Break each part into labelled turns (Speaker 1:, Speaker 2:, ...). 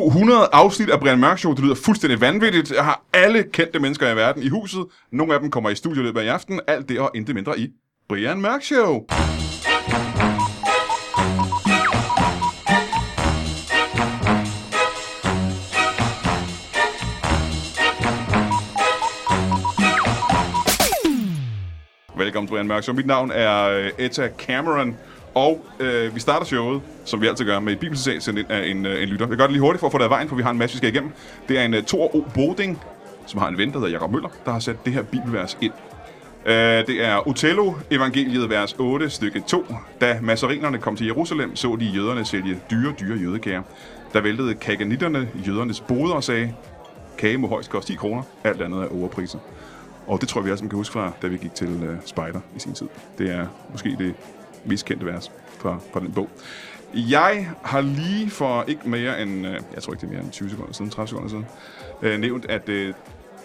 Speaker 1: 200 afsnit af Brian Mørk Show. Det lyder fuldstændig vanvittigt. Jeg har alle kendte mennesker i verden i huset. Nogle af dem kommer i studiet i løbet af i aften. Alt det og intet mindre i Brian Mørk Show. Velkommen til Brian Mørk Show. Mit navn er øh, Etta Cameron. Og øh, vi starter showet, som vi altid gør, med et bibelcitat sendt ind af en, øh, en lytter. Jeg gør det lige hurtigt for at få det af vejen, for vi har en masse, vi skal igennem. Det er en øh, Thor O. Boding, som har en ven, der hedder Jacob Møller, der har sat det her bibelvers ind. Øh, det er Otello, evangeliet vers 8, stykke 2. Da masserinerne kom til Jerusalem, så de jøderne sælge dyre, dyre jødekager. Der væltede kaganitterne jødernes boder og sagde, kage må højst koste 10 kroner, alt andet er overpriser. Og det tror jeg, vi alle sammen kan huske fra, da vi gik til uh, Spider i sin tid. Det er måske det mest kendte vers fra, fra den bog. Jeg har lige for ikke mere end, øh, jeg tror ikke det er mere end 20 sekunder siden, 30 sekunder siden, øh, nævnt, at øh,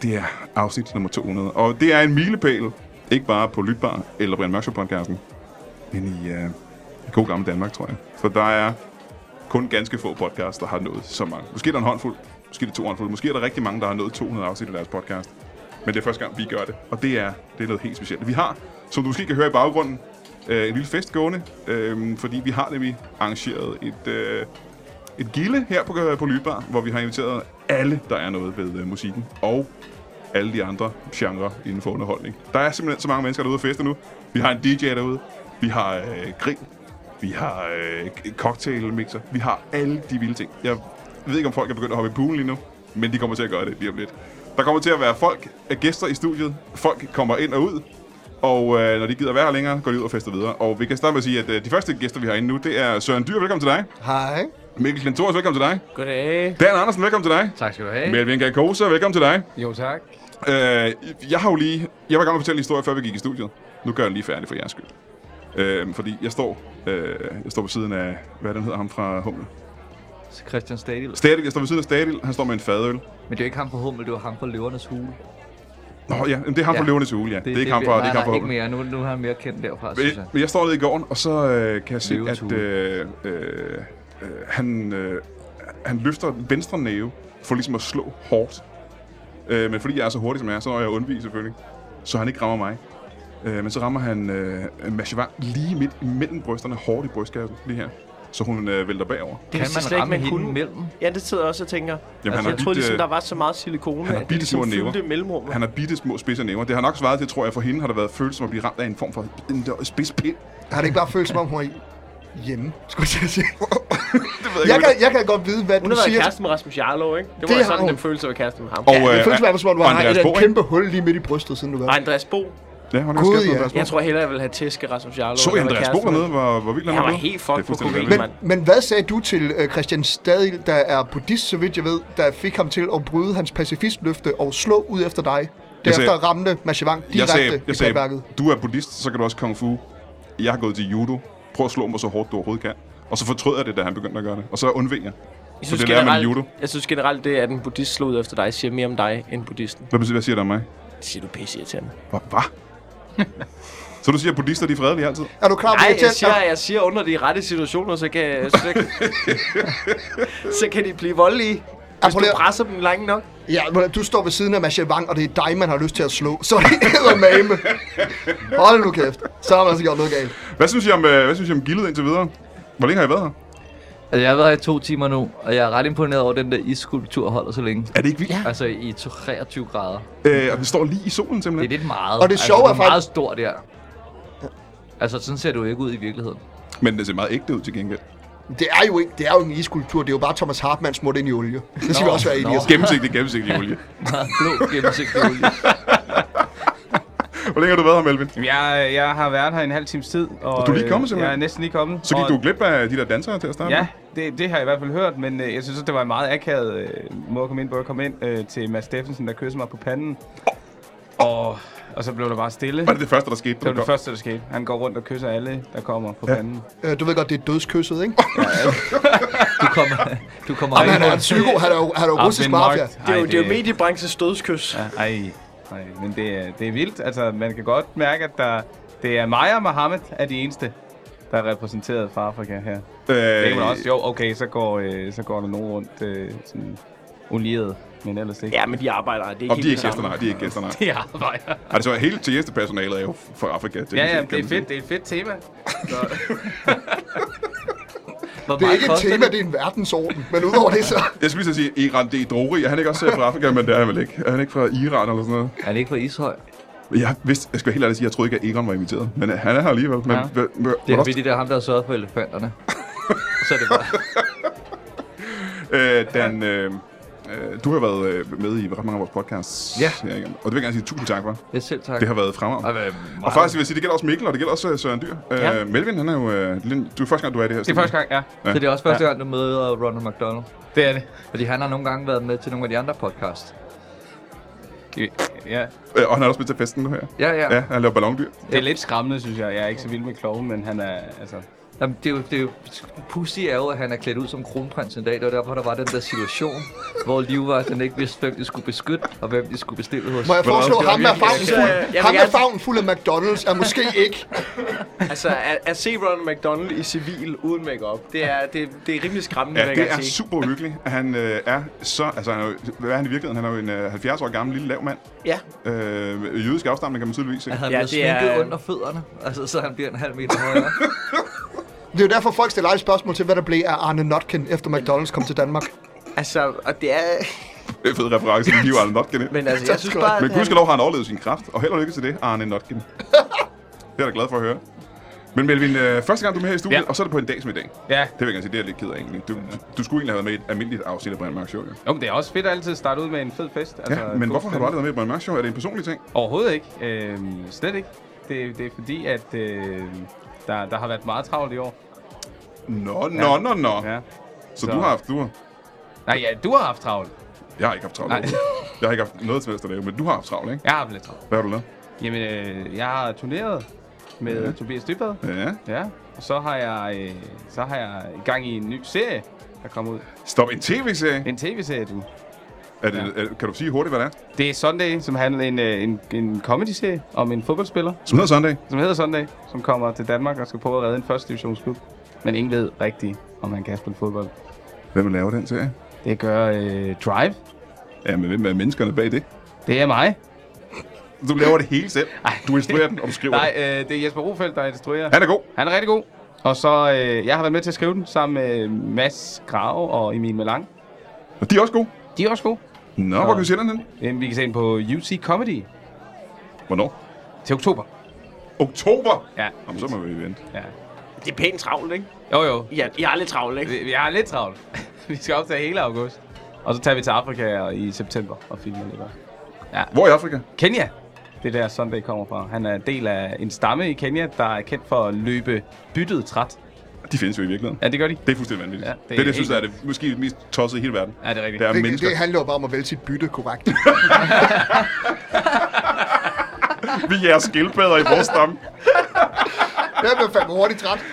Speaker 1: det er afsnit nummer 200. Og det er en milepæl, ikke bare på Lytbar eller Brian Mørkshow podcasten, men i, øh, i god gammel Danmark, tror jeg. For der er kun ganske få podcasts, der har nået så mange. Måske er der en håndfuld, måske er der to håndfulde, måske er der rigtig mange, der har nået 200 afsnit af deres podcast. Men det er første gang, vi gør det, og det er, det er noget helt specielt. Vi har, som du måske kan høre i baggrunden, øh, en lille fest gående, øh, fordi vi har nemlig arrangeret et, øh, et gilde her på, øh, på Lybar, hvor vi har inviteret alle, der er noget ved øh, musikken, og alle de andre genrer inden for underholdning. Der er simpelthen så mange mennesker derude og fester nu. Vi har en DJ derude, vi har øh, grill, vi har øh, cocktailmixer. Vi har alle de vilde ting. Jeg ved ikke, om folk er begyndt at hoppe i poolen lige nu, men de kommer til at gøre det lige om lidt. Der kommer til at være folk, øh, gæster i studiet. Folk kommer ind og ud. Og øh, når de gider være her længere, går de ud og fester videre. Og vi kan starte med at sige, at øh, de første gæster, vi har inde nu, det er Søren Dyr, velkommen til dig.
Speaker 2: Hej.
Speaker 1: Mikkel Klintors, velkommen til dig.
Speaker 3: Goddag.
Speaker 1: Dan Andersen, velkommen til dig.
Speaker 3: Tak skal du have.
Speaker 1: Melvin Gakosa, velkommen til dig.
Speaker 3: Jo, tak.
Speaker 1: Øh, jeg har jo lige... Jeg var i gang med at fortælle en historie, før vi gik i studiet. Nu gør jeg den lige færdig for jeres skyld. Øh, fordi jeg står, øh, jeg står på siden af... Hvad er den hedder ham fra Hummel?
Speaker 3: Så Christian Stadil.
Speaker 1: Stadil, jeg står ved siden af Stadil. Han står med en fadøl.
Speaker 3: Men det er jo ikke ham fra Hummel, det var ham fra Løvernes Hule.
Speaker 1: Nå ja, jamen, det er ham ja.
Speaker 3: Ja.
Speaker 1: fra Løvernes Hule, ja. Det, det er ikke ham fra, det er
Speaker 3: nej,
Speaker 1: ikke ham fra
Speaker 3: nej, ikke
Speaker 1: Hummel.
Speaker 3: mere. Nu, nu er han mere kendt derfra, synes jeg.
Speaker 1: Men, men jeg står nede i gården, og så øh, kan jeg se,
Speaker 3: Løvens
Speaker 1: at
Speaker 3: Hule.
Speaker 1: øh, øh, øh, han, øh, han løfter den venstre næve for ligesom at slå hårdt. Øh, men fordi jeg er så hurtig, som jeg er, så når jeg at undvige selvfølgelig. Så han ikke rammer mig. Øh, men så rammer han øh, Mashivan lige midt imellem brysterne, hårdt i brystkassen, lige her. Så hun øh, vælter bagover.
Speaker 3: Kan
Speaker 2: vidste jeg slet
Speaker 3: man
Speaker 2: ikke,
Speaker 3: ramme
Speaker 2: man
Speaker 3: hende
Speaker 2: kunne.
Speaker 3: imellem?
Speaker 2: Ja, det sidder jeg også og tænker.
Speaker 1: Jamen, han
Speaker 2: altså,
Speaker 1: har
Speaker 2: jeg troede
Speaker 1: bidt,
Speaker 2: ligesom,
Speaker 1: øh,
Speaker 2: der var så meget silikone,
Speaker 1: han har
Speaker 2: at det
Speaker 1: bitte små
Speaker 2: ligesom
Speaker 1: næver.
Speaker 2: fyldte mellemrummet.
Speaker 1: Han har bitte små spidse næver. Det har nok svaret til, tror jeg, for hende har der været følelsen at blive ramt af en form for en der spidspind.
Speaker 4: Har det ikke bare følt som om, hun er hjemme, skulle jeg til at sige.
Speaker 1: Det ved jeg,
Speaker 4: Jeg
Speaker 1: ikke,
Speaker 4: kan, jeg kan godt vide, hvad
Speaker 2: Hun
Speaker 4: du
Speaker 2: har været
Speaker 4: siger.
Speaker 2: kæreste med Rasmus Jarlov, ikke? Det var
Speaker 4: Det
Speaker 2: det
Speaker 4: har
Speaker 2: sådan,
Speaker 4: hun.
Speaker 2: den følelse af kæreste med ham.
Speaker 1: Og,
Speaker 2: Og,
Speaker 4: Ja,
Speaker 1: øh,
Speaker 4: det føles i hvert fald som om, du har
Speaker 1: Andreas
Speaker 4: et
Speaker 1: Bo,
Speaker 4: eller
Speaker 1: ikke?
Speaker 4: andet kæmpe hul lige midt i brystet, siden du var.
Speaker 2: og Andreas Bo.
Speaker 1: Ja, hun er
Speaker 4: Gud,
Speaker 1: Gud,
Speaker 4: ja.
Speaker 1: ja.
Speaker 2: Jeg tror hellere, jeg ville have tæsket Rasmus Jarlov.
Speaker 1: Så
Speaker 2: end
Speaker 1: I
Speaker 2: at være
Speaker 1: Andreas Bo
Speaker 2: kæreste med-
Speaker 1: dernede, hvor, hvor vild han
Speaker 2: Han
Speaker 1: er
Speaker 2: var
Speaker 1: blevet?
Speaker 2: helt fucked
Speaker 1: Det er
Speaker 2: på
Speaker 1: fuldstændig
Speaker 2: kokain,
Speaker 4: Men,
Speaker 1: vanvittigt.
Speaker 2: mand.
Speaker 4: men hvad sagde du til øh, Christian Stadil, der er buddhist, så vidt jeg ved, der fik ham til at bryde hans pacifistløfte og slå ud efter dig? Derefter
Speaker 1: sagde-
Speaker 4: ramte Machivang direkte
Speaker 1: Jeg sagde, jeg
Speaker 4: i
Speaker 1: sagde
Speaker 4: klædværket.
Speaker 1: du er buddhist, så kan du også kung fu. Jeg har gået til judo. Prøv at slå mig så hårdt, du overhovedet kan. Og så fortrød jeg det, da han begyndte at gøre det. Og så undvig jeg.
Speaker 2: Jeg
Speaker 1: Så
Speaker 2: synes,
Speaker 1: det lærer man i judo.
Speaker 2: generelt, jeg synes generelt, det at en buddhist slog ud efter dig, siger mere om dig end buddhisten.
Speaker 1: Hvad, betyder- hvad siger det om mig?
Speaker 2: Det siger du pisse irriterende.
Speaker 1: Hvad? Hva? så du siger, at buddhister de er fredelige altid?
Speaker 4: Er du klar på
Speaker 2: Nej,
Speaker 4: det?
Speaker 2: jeg siger, jeg siger under de rette situationer, så kan, så, så kan de blive voldelige. Hvis
Speaker 4: prøv lige
Speaker 2: du
Speaker 4: at-
Speaker 2: presser dem langt nok.
Speaker 4: Ja, men du står ved siden af Machivang, og det er dig, man har lyst til at slå. Så er det eddermame. Hold nu kæft. Så har man altså gjort noget galt.
Speaker 1: Hvad synes I om, øh, hvad synes I om gildet indtil videre? Hvor længe har I været her?
Speaker 3: Altså, jeg har været her i to timer nu, og jeg er ret imponeret over, at den der isskulptur holder så længe.
Speaker 1: Er det ikke vildt? Ja.
Speaker 3: Altså i 23 grader.
Speaker 1: Øh, og det står lige i solen
Speaker 3: Det er
Speaker 1: simpelthen.
Speaker 3: lidt meget.
Speaker 4: Og det sjove er
Speaker 3: altså,
Speaker 4: faktisk-
Speaker 3: meget stor der. Altså, sådan ser du ikke ud i virkeligheden.
Speaker 1: Men det ser meget ægte ud til gengæld.
Speaker 4: Det er jo ikke, det er jo en iskulptur. Det er jo bare Thomas Hartmann smurt ind i olie. Det skal vi
Speaker 3: Nå,
Speaker 4: også være enige
Speaker 3: nå.
Speaker 4: om.
Speaker 1: Gennemsigtig, gennemsigtig olie.
Speaker 3: Meget blå gennemsigtig olie.
Speaker 1: Hvor længe har du været her, Melvin?
Speaker 5: Jeg, jeg har været her en halv times tid. Og,
Speaker 1: Du er lige
Speaker 5: øh,
Speaker 1: kommet, simpelthen?
Speaker 5: Jeg er næsten lige kommet.
Speaker 1: Så gik
Speaker 5: og,
Speaker 1: du glip af de der dansere til at starte
Speaker 5: Ja,
Speaker 1: med?
Speaker 5: det, det har jeg i hvert fald hørt, men øh, jeg synes, også, det var en meget akavet øh, måde at komme ind på. Jeg kom ind øh, til Mads Steffensen, der kyssede mig på panden. Og, og så blev der bare stille.
Speaker 1: Var det det første, der skete? da
Speaker 5: Det var
Speaker 1: du
Speaker 5: det
Speaker 1: kom?
Speaker 5: første, der skete. Han går rundt og kysser alle, der kommer på panden.
Speaker 4: Øh, Du ved godt, det er dødskysset, ikke?
Speaker 3: Du kommer, du kommer
Speaker 4: Jamen, han
Speaker 3: ind
Speaker 4: er en psyko, han er jo, han er jo
Speaker 5: Ah,
Speaker 4: russisk
Speaker 5: men Mark-
Speaker 4: mafia.
Speaker 2: Det er jo,
Speaker 5: Ej,
Speaker 2: det er jo mediebranchens dødskys.
Speaker 5: Ja, Ej, nej, men det er, det er vildt. Altså, man kan godt mærke, at der, det er mig og Mohammed er de eneste, der er repræsenteret fra Afrika her.
Speaker 1: Øh,
Speaker 5: Det er man også, jo, okay, så går, øh, så går der nogen rundt øh, sådan olieret, men ellers ikke.
Speaker 2: Ja, men de arbejder. Det er ikke
Speaker 1: Om de er
Speaker 2: helt
Speaker 1: ikke
Speaker 2: det
Speaker 1: gæster,
Speaker 2: samme.
Speaker 1: nej. De er ikke gæster, nej.
Speaker 5: De arbejder.
Speaker 1: Altså, hele tjenestepersonalet er jo fra Afrika. Det
Speaker 5: Ja,
Speaker 1: kan
Speaker 5: ja,
Speaker 1: man sige,
Speaker 5: det
Speaker 1: kan
Speaker 5: er
Speaker 1: man
Speaker 5: fedt, Ligesom det er et fedt tema.
Speaker 3: Hvor
Speaker 4: Det er
Speaker 3: meget
Speaker 4: ikke et
Speaker 3: koster
Speaker 4: tema, det er en verdensorden. Men udover det, så...
Speaker 1: sige. Jeg skulle lige så sige, Iran D. Drori. Er han ikke også øh, fra Afrika, men det er han vel ikke? Er han ikke fra Iran eller sådan noget?
Speaker 3: Er han ikke fra Ishøj?
Speaker 1: Jeg, vidste, jeg skal være helt ærlig sige, jeg troede ikke, at Iran var inviteret. Men øh, han er her alligevel. Men,
Speaker 3: Ja.
Speaker 1: ja.
Speaker 3: Det er fordi, det er ham, der har sørget for elefanterne. Så er det bare...
Speaker 1: Øh, Dan, øh, øh, du har været øh, med i ret mange af vores podcasts.
Speaker 3: Ja.
Speaker 1: her igen. Og det vil jeg gerne sige tusind tak for.
Speaker 3: Ja, selv tak.
Speaker 1: Det har været fremragende. Og faktisk vil jeg sige, det gælder også Mikkel, og det gælder også øh, Søren Dyr. Ja.
Speaker 5: Ja.
Speaker 1: Øh, Melvin, han er jo... Øh, lille- du er første gang, du er i det her.
Speaker 5: Det er første gang, ja.
Speaker 3: Så det er også første gang, du møder Ronald McDonald.
Speaker 5: Det er det.
Speaker 3: Fordi han har nogle gange været med til nogle af de andre podcasts.
Speaker 5: Ja.
Speaker 1: Øh, og han er også med til festen nu her.
Speaker 3: Ja, ja.
Speaker 1: Ja, han laver ballondyr.
Speaker 5: Det er lidt skræmmende, synes jeg. Jeg er ikke så vild med kloven, men han er, altså...
Speaker 3: Jamen, det er jo, det er jo, pussy er jo, at han er klædt ud som kronprins en dag. Det var derfor, der var den der situation, hvor Liv var, at den ikke vidste, hvem de skulle beskytte, og hvem de skulle bestille hos.
Speaker 4: Må jeg foreslå
Speaker 1: det var
Speaker 4: ham med
Speaker 1: virkelig
Speaker 4: favnen fuld?
Speaker 2: akavet. Jeg
Speaker 4: Ham
Speaker 2: vil
Speaker 4: med
Speaker 2: gerne-
Speaker 4: favnen fuld af McDonald's er måske ikke.
Speaker 2: Altså, at, at se Ronald McDonald i civil uden makeup, det er, det, det er rimelig skræmmende,
Speaker 1: Ja,
Speaker 2: vil jeg
Speaker 1: det
Speaker 2: gerne
Speaker 1: er
Speaker 2: sige.
Speaker 1: super hyggeligt. Han øh, er så... Altså, han er jo, hvad er han i virkeligheden? Han er jo en øh, 70 år gammel lille lav mand.
Speaker 2: Ja,
Speaker 1: Øh, jødisk afstamning, kan man tydeligvis se.
Speaker 3: At han
Speaker 2: Ja,
Speaker 3: ja, bliver
Speaker 2: det er-
Speaker 3: sminket er... under fødderne, altså, så han bliver en halv meter højere.
Speaker 4: Det er jo derfor, folk stiller alle spørgsmål til, hvad der blev af Arne Notkin, efter McDonald's kom til Danmark.
Speaker 2: altså, og det er...
Speaker 1: Det er fed reference, men Liv Arne Notkin. ikke?
Speaker 2: Men altså,
Speaker 4: Tak
Speaker 2: jeg synes
Speaker 4: skal du have.
Speaker 2: bare, at
Speaker 1: Men
Speaker 2: han-
Speaker 1: gudskelov har han overlevet sin kraft, og held og lykke til det, Arne Notkin. det er jeg da glad for at høre. Men Melvin, øh, første gang du er med her i studiet, ja.
Speaker 5: Ja.
Speaker 1: og så er det på en dag som i dag.
Speaker 5: Ja.
Speaker 1: Det vil jeg gerne sige, det er jeg lidt ked af egentlig. Du, du skulle egentlig have været med i et almindeligt afsnit af Brian Mørk Show, ja.
Speaker 5: Jo, men det er også fedt at altid starte ud med en fed fest. Altså,
Speaker 1: ja men
Speaker 5: god
Speaker 1: hvorfor har du
Speaker 5: stemning.
Speaker 1: aldrig været med i Brian Mørk Show? Er det en personlig ting?
Speaker 5: Overhovedet ikke. Øhm, slet ikke. Det, det er fordi, at øh, der, der har været meget travlt i år.
Speaker 1: Nå, nå, nå, nå.
Speaker 5: Ja.
Speaker 1: Så,
Speaker 5: Så-
Speaker 1: du har haft, du har,
Speaker 5: Nej, ja, du har haft travlt.
Speaker 1: Jeg har ikke haft travlt.
Speaker 5: Nej.
Speaker 1: Jeg har ikke haft noget til helst at lave, men du har haft travlt, ikke?
Speaker 5: Jeg har haft lidt travlt.
Speaker 1: Hvad har du lavet?
Speaker 5: Jamen, øh, jeg har turneret med ja. Tobias Dybvad.
Speaker 1: Ja.
Speaker 5: Ja. Og så har jeg, øh, så har jeg i gang i en ny serie, der kommer ud.
Speaker 1: Stop en tv-serie.
Speaker 5: En tv-serie, du.
Speaker 1: Er det, er, kan du sige hurtigt, hvad det er?
Speaker 5: Det er Sunday, som handler en, øh, en, en comedy-serie om en fodboldspiller,
Speaker 1: Som hedder Sunday.
Speaker 5: som hedder Sunday, som kommer til Danmark og skal prøve at redde en første divisionsklub. Men ingen ved rigtigt, om han kan spille fodbold.
Speaker 1: Hvem vil lave den serie?
Speaker 5: Det gør øh, Drive.
Speaker 1: Ja, men hvem er menneskerne bag det?
Speaker 5: Det er mig.
Speaker 1: Du laver det hele selv. Du instruerer den, og du skriver
Speaker 5: Nej,
Speaker 1: den.
Speaker 5: øh, det er Jesper Rofeldt, der instruerer.
Speaker 1: Han er god.
Speaker 5: Han er rigtig god. Og så, øh, jeg har været med til at skrive den sammen med øh, Mads Grave og Emil Melang.
Speaker 1: Og de er også gode.
Speaker 5: De er også gode.
Speaker 1: Nå, hvor kan vi se den hen?
Speaker 5: Jamen, vi kan se den på UC Comedy
Speaker 1: Hvornår?
Speaker 5: til oktober.
Speaker 1: Oktober!
Speaker 5: Ja.
Speaker 1: Jamen, så må vi vente.
Speaker 5: ja.
Speaker 2: det er pænt travlt, ikke?
Speaker 5: Jo, jo.
Speaker 2: Ja, jeg er lidt travlt, ikke?
Speaker 5: Vi, vi har lidt travlt. vi skal optage hele august. Og så tager vi til Afrika i september og filmer lidt. der.
Speaker 1: Hvor i Afrika?
Speaker 5: Kenya! Det er der Sunday kommer fra. Han er del af en stamme i Kenya, der er kendt for at løbe byttet træt.
Speaker 1: De findes jo i virkeligheden.
Speaker 5: Ja, det gør de.
Speaker 1: Det er fuldstændig vanvittigt.
Speaker 5: Ja,
Speaker 1: Ja,
Speaker 5: det
Speaker 1: det, er det, jeg
Speaker 5: er
Speaker 1: synes, der er det måske mest tossede i hele verden.
Speaker 5: Ja, det er rigtigt.
Speaker 1: Det er
Speaker 4: Det,
Speaker 1: mennesker.
Speaker 4: det handler jo bare om at vælge sit bytte korrekt.
Speaker 1: Vi er jeres skildpadder i vores stamme.
Speaker 4: Jeg bliver fandme hurtigt træt.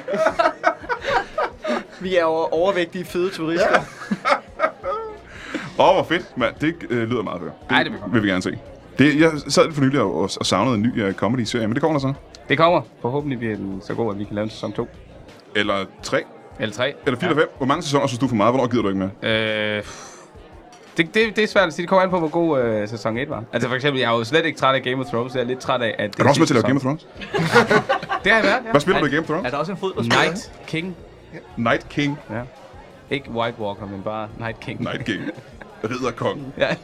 Speaker 2: Vi er over- overvægtige fede turister.
Speaker 1: Åh, hvor fedt, mand. Det øh, lyder meget fedt.
Speaker 5: Ej, det vil komme.
Speaker 1: vil vi gerne se. Det, jeg sad for nylig og, og savnede en ny uh, comedy-serie, men det kommer der så.
Speaker 5: Det kommer. Forhåbentlig bliver den så god, at vi kan lave en sæson 2.
Speaker 1: Eller tre,
Speaker 5: Eller 3.
Speaker 1: eller fire ja. eller fem. Hvor mange sæsoner synes du er for meget? Hvornår gider du ikke mere?
Speaker 5: Øh, det, det, det er svært at sige. Det kommer an på, hvor god øh, sæson 1 var. Altså for eksempel, jeg er jo slet ikke træt af Game of Thrones. Jeg er lidt træt af, at...
Speaker 1: Er du også med til at lave Game of Thrones?
Speaker 5: Thrones? Det har jeg været, ja.
Speaker 1: Hvad spiller du i Game of Thrones?
Speaker 3: er der også en fodboldspiller?
Speaker 5: Night King.
Speaker 1: Night King.
Speaker 5: Ikke White Walker, men bare Night King.
Speaker 1: Night King. Ridderkongen.
Speaker 5: Ja.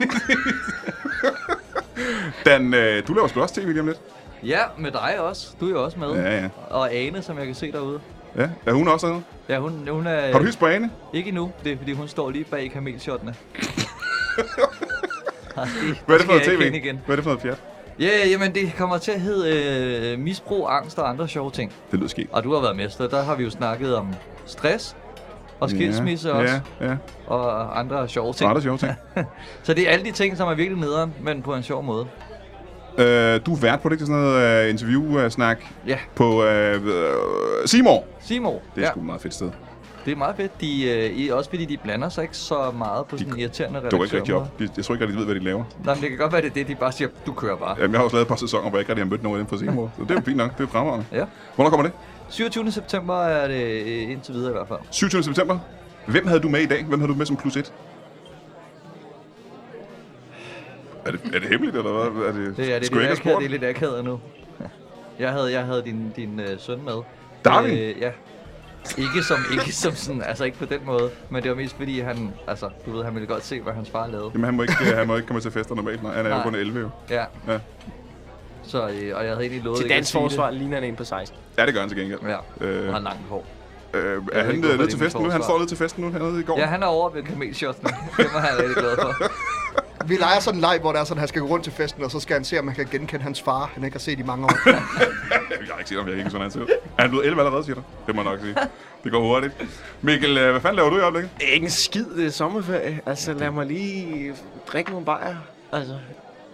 Speaker 1: Dan, øh, du laver sgu også tv lige om lidt.
Speaker 3: Ja, med dig også. Du er jo også med.
Speaker 1: Ja, ja.
Speaker 3: Og Ane, som jeg kan se derude.
Speaker 1: Ja, er hun også dernede?
Speaker 3: Ja, hun, hun er...
Speaker 1: Har du hils på Ane?
Speaker 3: Ikke endnu. Det er, fordi hun står lige bag kamelshottene.
Speaker 1: Hvad er det for noget
Speaker 3: Skal jeg
Speaker 1: tv?
Speaker 3: ikke ind igen.
Speaker 1: Hvad er det for noget fjat?
Speaker 3: Ja, yeah, jamen det kommer til at hedde øh, misbrug, angst og andre sjove ting.
Speaker 1: Det lyder skidt.
Speaker 3: Og du har været mester, der har vi jo snakket om stress og skilsmisse
Speaker 1: ja,
Speaker 3: yeah. også,
Speaker 1: Ja, ja.
Speaker 3: og andre sjove ting.
Speaker 1: Smarte sjove ting.
Speaker 3: Så det er alle de ting, som er virkelig nederen, men på en sjov måde.
Speaker 1: øh, du er vært på det, det er sådan noget øh, interview-snak
Speaker 3: Ja,
Speaker 1: på øh, ved- øh, Seymour.
Speaker 3: Simon.
Speaker 1: Det er ja.
Speaker 3: ja.
Speaker 1: sgu et meget fedt sted.
Speaker 3: Det er meget fedt. De, øh, i- også fordi de blander sig ikke så meget på sådan en irriterende
Speaker 1: Det var ikke rigtigt
Speaker 3: redaktørmåde.
Speaker 1: op. De- Jeg tror ikke rigtig, de ved, hvad de laver.
Speaker 3: Nej, men det kan godt være, det er det, de bare siger, du kører bare.
Speaker 1: Jamen, jeg har også lavet et par sæsoner, hvor jeg ikke rigtig har mødt nogen af dem fra Seymour. Så det er jo fint nok. Det er fremragende.
Speaker 3: Ja.
Speaker 1: Hvornår kommer det?
Speaker 3: 27. september er det øh, indtil videre i hvert fald.
Speaker 1: 27. september. Hvem havde du med i dag? Hvem havde du med som plus et? Er det, er det hemmeligt, eller hvad? Er det,
Speaker 3: Det er, det,
Speaker 1: Skulle jeg ikke
Speaker 3: det, er, det, er,
Speaker 1: have
Speaker 3: det er
Speaker 1: spurgt?
Speaker 3: lidt akavet nu. Jeg havde, jeg havde din, din øh, søn med. Øh,
Speaker 1: Darwin?
Speaker 3: ja. Ikke som, ikke som sådan, altså ikke på den måde, men det var mest fordi han, altså du ved, han ville godt se, hvad hans far lavede.
Speaker 1: Jamen, han må, ikke, øh, han må ikke komme til fester normalt, når han er jo
Speaker 3: Nej.
Speaker 1: kun 11, jo.
Speaker 3: Ja,
Speaker 1: Ja.
Speaker 3: så, øh, og jeg havde egentlig lovet
Speaker 2: Til
Speaker 3: ikke at
Speaker 2: dansk
Speaker 3: sige
Speaker 2: forsvar ligner han en på 16.
Speaker 1: ja, det gør han til gengæld.
Speaker 3: det. Ja,
Speaker 1: Øh.
Speaker 3: øh. og har langt hår.
Speaker 1: Øh, er
Speaker 3: ved
Speaker 1: han
Speaker 3: ikke,
Speaker 1: øh,
Speaker 3: hvorfor
Speaker 1: nede
Speaker 3: det
Speaker 1: til
Speaker 3: er mit
Speaker 1: festen nu? Han
Speaker 3: forsvar.
Speaker 1: står nede til festen nu hernede i går.
Speaker 3: Ja, han er over ved kamelshots nu. Det var han rigtig glad for.
Speaker 4: Vi leger sådan en leg, hvor det er sådan, at han skal gå rundt til festen, og så skal han se, om han kan genkende hans far, han ikke har set i mange år.
Speaker 1: Jeg har ikke set ham, jeg kan ikke sådan, han ser ud. Er han blevet 11 allerede, siger du? Det må jeg nok sige. Det går hurtigt. Mikkel, øh, hvad fanden laver du i øjeblikket?
Speaker 2: Det er ikke en skid, det er sommerferie. Altså, lad mig lige drikke nogle bajer. Altså.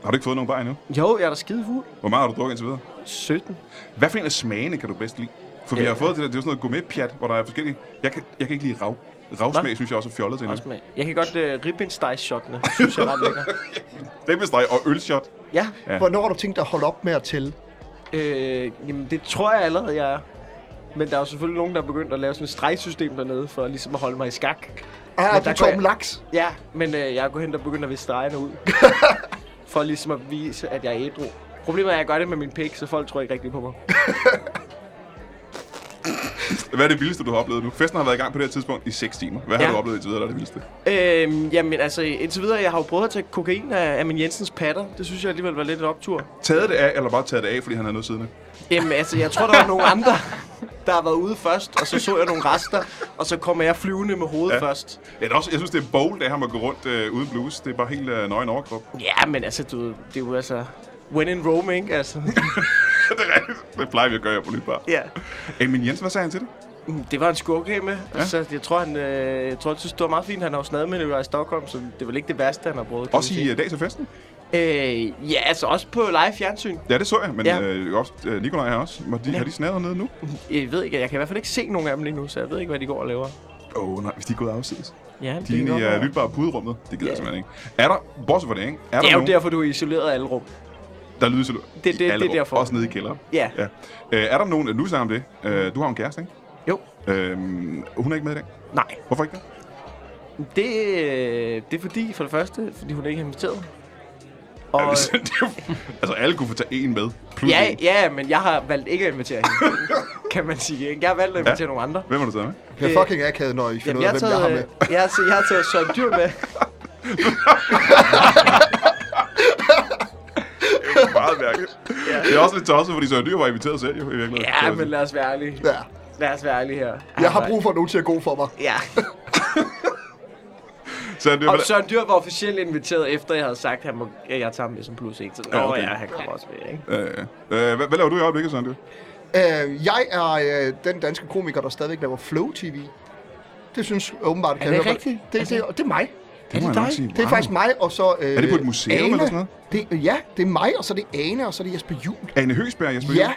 Speaker 1: Har du ikke fået nogen bajer endnu?
Speaker 2: Jo, jeg er da skide fuld.
Speaker 1: Hvor meget har du drukket indtil videre?
Speaker 2: 17.
Speaker 1: Hvad for en af smagene kan du bedst lide? For vi har fået det der, det er jo sådan noget gourmetpjat, hvor der er forskellige... Jeg kan, jeg kan ikke lide rav. Ravsmag,
Speaker 2: Hvad?
Speaker 1: synes jeg også er fjollet til
Speaker 2: Også
Speaker 1: endnu.
Speaker 2: med. Jeg kan godt uh, ribbenstejs-shottene. Synes jeg er ret lækker.
Speaker 1: Ribbesteg og ølshot.
Speaker 2: Ja,
Speaker 4: Hvornår har du tænkt dig at holde op med at tælle?
Speaker 2: øh, jamen det tror jeg allerede, jeg er. Men der er jo selvfølgelig nogen, der er begyndt at lave sådan et stregsystem dernede, for ligesom at holde mig i skak.
Speaker 4: Ah,
Speaker 2: Men
Speaker 4: du
Speaker 2: der
Speaker 4: er
Speaker 2: går
Speaker 4: Torben
Speaker 2: jeg-
Speaker 4: Laks.
Speaker 2: Ja, men øh, jeg er gået hen og begyndt at vise stregerne ud. for ligesom at vise, at jeg er ædru. Problemet er, at jeg gør det med min pik, så folk tror ikke rigtigt på mig.
Speaker 1: Hvad er det vildeste, du har oplevet nu? Festen har været i gang på det her tidspunkt i 6 timer. Hvad ja. har
Speaker 2: Ja.
Speaker 1: du oplevet indtil videre, der er det vildeste?
Speaker 2: Øhm, jamen altså, indtil videre, jeg har jo prøvet at tage kokain af, af min Jensens patter. Det synes jeg alligevel var lidt et optur.
Speaker 1: Taget det af, eller bare taget det af, fordi han havde noget siddende?
Speaker 2: Jamen altså, jeg tror, der var nogle andre, der har været ude først, og så så jeg nogle rester, og så kommer jeg flyvende med hovedet
Speaker 1: Ja.
Speaker 2: ja. først.
Speaker 1: Ja, det er også, jeg synes, det er bold af ham at gå rundt øh, uden blues. Det er bare helt øh, nøgen overkrop.
Speaker 2: Ja, men altså, du, ved, det er jo altså... When in Rome, ikke? Altså,
Speaker 1: det er rigtigt. Det plejer vi at gøre her på nyt bare.
Speaker 2: ja.
Speaker 1: Amin Jensen, hvad sagde han til det?
Speaker 2: Mm, Det var en skurk af med.
Speaker 1: Ja.
Speaker 2: Ja. Så jeg tror, han, øh, jeg tror, han synes, det var meget fint. Han har jo snadet med det i Stockholm, så det er vel ikke det værste, han har prøvet. kan
Speaker 1: Også
Speaker 2: man
Speaker 1: i
Speaker 2: sige.
Speaker 1: uh, dag til festen?
Speaker 2: Øh, ja, altså også på live fjernsyn.
Speaker 1: Ja, det så jeg, men ja.
Speaker 2: Ja.
Speaker 1: øh, også, øh, Nikolaj her også. Må de, ja. Har de snadet nede nu?
Speaker 2: Jeg ved ikke, jeg kan i hvert fald ikke se nogen af dem lige nu, så jeg ved ikke, hvad de går og laver.
Speaker 1: Åh oh, nej, hvis de er gået afsides.
Speaker 2: Ja, det
Speaker 1: De er
Speaker 2: kan
Speaker 1: inde
Speaker 2: godt
Speaker 1: i
Speaker 2: være.
Speaker 1: uh, lytbare puderummet. Det gider
Speaker 2: Ja.
Speaker 1: jeg simpelthen ikke. Er der, bortset fra det, ikke? Er
Speaker 2: Det
Speaker 1: der
Speaker 2: er jo
Speaker 1: nogen,
Speaker 2: derfor, du er isoleret af alle rum.
Speaker 1: der lyder til
Speaker 2: det- det er derfor.
Speaker 1: Også nede i kælderen.
Speaker 2: Ja.
Speaker 1: ja. Øh, er der nogen, nu sagde jeg om det. Øh, du har jo en kæreste, ikke?
Speaker 2: Jo.
Speaker 1: Øhm, hun er ikke med i dag.
Speaker 2: Nej.
Speaker 1: Hvorfor ikke det?
Speaker 2: Det, øh, det er fordi, for det første, fordi hun ikke er inviteret. Og,
Speaker 1: Og... altså, alle kunne få tage en med. Plus
Speaker 2: ja,
Speaker 1: en.
Speaker 2: ja, men jeg har valgt ikke at invitere hende, kan man sige. ikke? Jeg har valgt at invitere ja. nogle andre.
Speaker 1: Hvem har du taget med?
Speaker 4: Det er
Speaker 2: Øh,
Speaker 4: fucking akavet, når I finder ud
Speaker 2: jeg
Speaker 4: af,
Speaker 2: har
Speaker 4: hvem jeg har med.
Speaker 2: taget, øh, jeg, har, jeg har taget Søren Dyr med.
Speaker 1: Meget mærkeligt. ja. Det er også lidt tosset, fordi Søren Dyr var inviteret selv, jo, i virkeligheden. Kan
Speaker 2: Ja,
Speaker 1: jeg
Speaker 2: men
Speaker 1: sige.
Speaker 2: lad os være ærlige.
Speaker 4: Ja.
Speaker 2: Lad os være ærlige her.
Speaker 4: Jeg har
Speaker 2: Altså,
Speaker 4: brug for nogen til at gå for mig.
Speaker 2: Ja,
Speaker 1: Søren Dyr,
Speaker 2: og
Speaker 1: hvordan-
Speaker 2: Søren Dyr var officielt inviteret, efter jeg havde sagt, at han må, at jeg tager ham med som plus en. Så, Nå
Speaker 1: Ja, okay.
Speaker 2: ja, han kommer også med, ikke?
Speaker 1: Øh, øh, hvad, hvad laver du i øjeblikket, Søren Dyr?
Speaker 4: Øh, jeg er øh, den danske komiker, der stadigvæk laver Flow TV. Det synes åbenbart... Er
Speaker 2: det rigtigt? Altså-
Speaker 4: Det, det, det, det er mig.
Speaker 1: Det må jeg nok sige.
Speaker 4: Det er
Speaker 1: Wow.
Speaker 4: faktisk mig, og så... Øh,
Speaker 1: Er det på et museum
Speaker 4: Ane.
Speaker 1: eller sådan noget?
Speaker 4: Det, ja, det er mig, og så er det Ane, og så er det Jesper Juhl.
Speaker 1: Anne Høgsberg, Jesper
Speaker 4: Ja,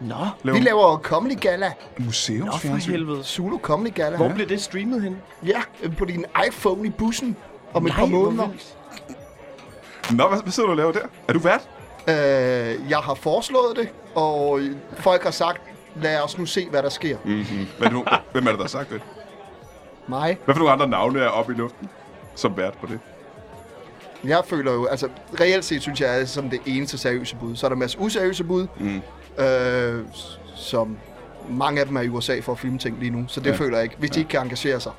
Speaker 2: Nå,
Speaker 1: laver
Speaker 4: vi laver Comedy Gala.
Speaker 2: Nå for
Speaker 1: museumsfjernsyn.
Speaker 2: helvede.
Speaker 4: Zulu Comedy Gala.
Speaker 2: Hvor blev det streamet hen?
Speaker 4: Ja, øh, på din iPhone i bussen om et
Speaker 2: Nej,
Speaker 4: par
Speaker 2: hvor
Speaker 4: måneder.
Speaker 2: vildt.
Speaker 1: Nå, hvad, hvad sidder du og laver der? Er du vært?
Speaker 4: Øh, jeg har foreslået det, og folk har sagt, lad os nu se, hvad der sker. Mm.
Speaker 1: Mm-hmm. Hvad er det nu? Hvem er det, der har sagt det?
Speaker 4: Mig.
Speaker 1: Hvad for nogle andre navne er oppe i luften som vært på det?
Speaker 4: Jeg føler jo, altså reelt set synes jeg, jeg er som det eneste seriøse bud. Så er der en masse useriøse bud, mm. øh, s- som mange af dem er i USA for at filme ting lige nu. Så det
Speaker 1: Ja.
Speaker 4: ja. føler jeg ikke, hvis ja. de ikke kan engagere sig.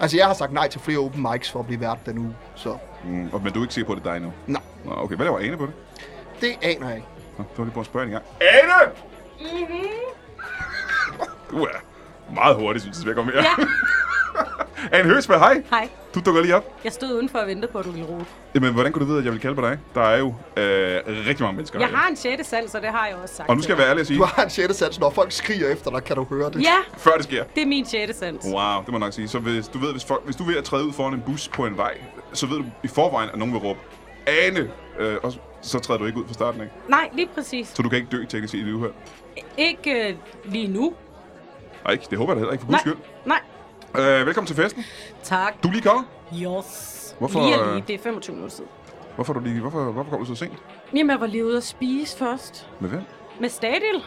Speaker 4: Altså jeg har sagt nej til flere open mics for at blive vært den uge, så
Speaker 1: Mm. Og, men du er ikke sikker på, at det er dig endnu?
Speaker 4: nej,
Speaker 1: Nå, okay. Hvad laver Ane på det?
Speaker 4: det aner jeg ikke.
Speaker 1: Nå, det var lige på at spørge hende engang. Ane! Mm-hmm. Du er meget hurtig, synes jeg, jeg kommer her.
Speaker 6: Ja.
Speaker 1: Anne Høgsberg, hej.
Speaker 6: Hej.
Speaker 1: Du dukker lige op.
Speaker 6: Jeg stod udenfor og ventede på, at du ville råbe.
Speaker 1: Jamen, hvordan kunne du vide, at jeg vil kalde på dig? Der er jo øh, rigtig mange mennesker.
Speaker 6: Jeg
Speaker 1: herinde.
Speaker 6: har en sjette sal, så det har jeg også sagt.
Speaker 1: Og nu skal jeg
Speaker 6: til
Speaker 1: være ærlig og sige,
Speaker 4: Du har en sjette sans, når folk skriger efter dig, kan du høre det?
Speaker 6: dig. Ja,
Speaker 1: før det sker,
Speaker 6: det er min sjette sans.
Speaker 1: Wow, det må jeg nok sige. Så hvis du ved, hvis, folk, hvis du er ved at træde ud foran en bus på en vej, så ved du i forvejen, at nogen vil råbe, Ane! Øh, og så- så træder du ikke ud fra starten, ikke?
Speaker 6: Nej, lige præcis.
Speaker 1: Så du kan ikke dø teknisk set i det uheld.
Speaker 6: Ikke øh, lige nu.
Speaker 1: Nej, ikke. det håber jeg da heller ikke, for guds
Speaker 6: Nej.
Speaker 1: skyld.
Speaker 6: Nej,
Speaker 1: Øh, velkommen til festen.
Speaker 6: Tak.
Speaker 1: Du er lige kommet.
Speaker 6: Yes.
Speaker 1: Hvorfor,
Speaker 6: Lige, er
Speaker 1: øh,
Speaker 6: lige det er 25 minutter siden.
Speaker 1: Hvorfor, er du lige, hvorfor, hvorfor kom du så sent?
Speaker 6: Jamen, jeg var lige ude at spise først.
Speaker 1: Med hvem?
Speaker 6: Med Stadil.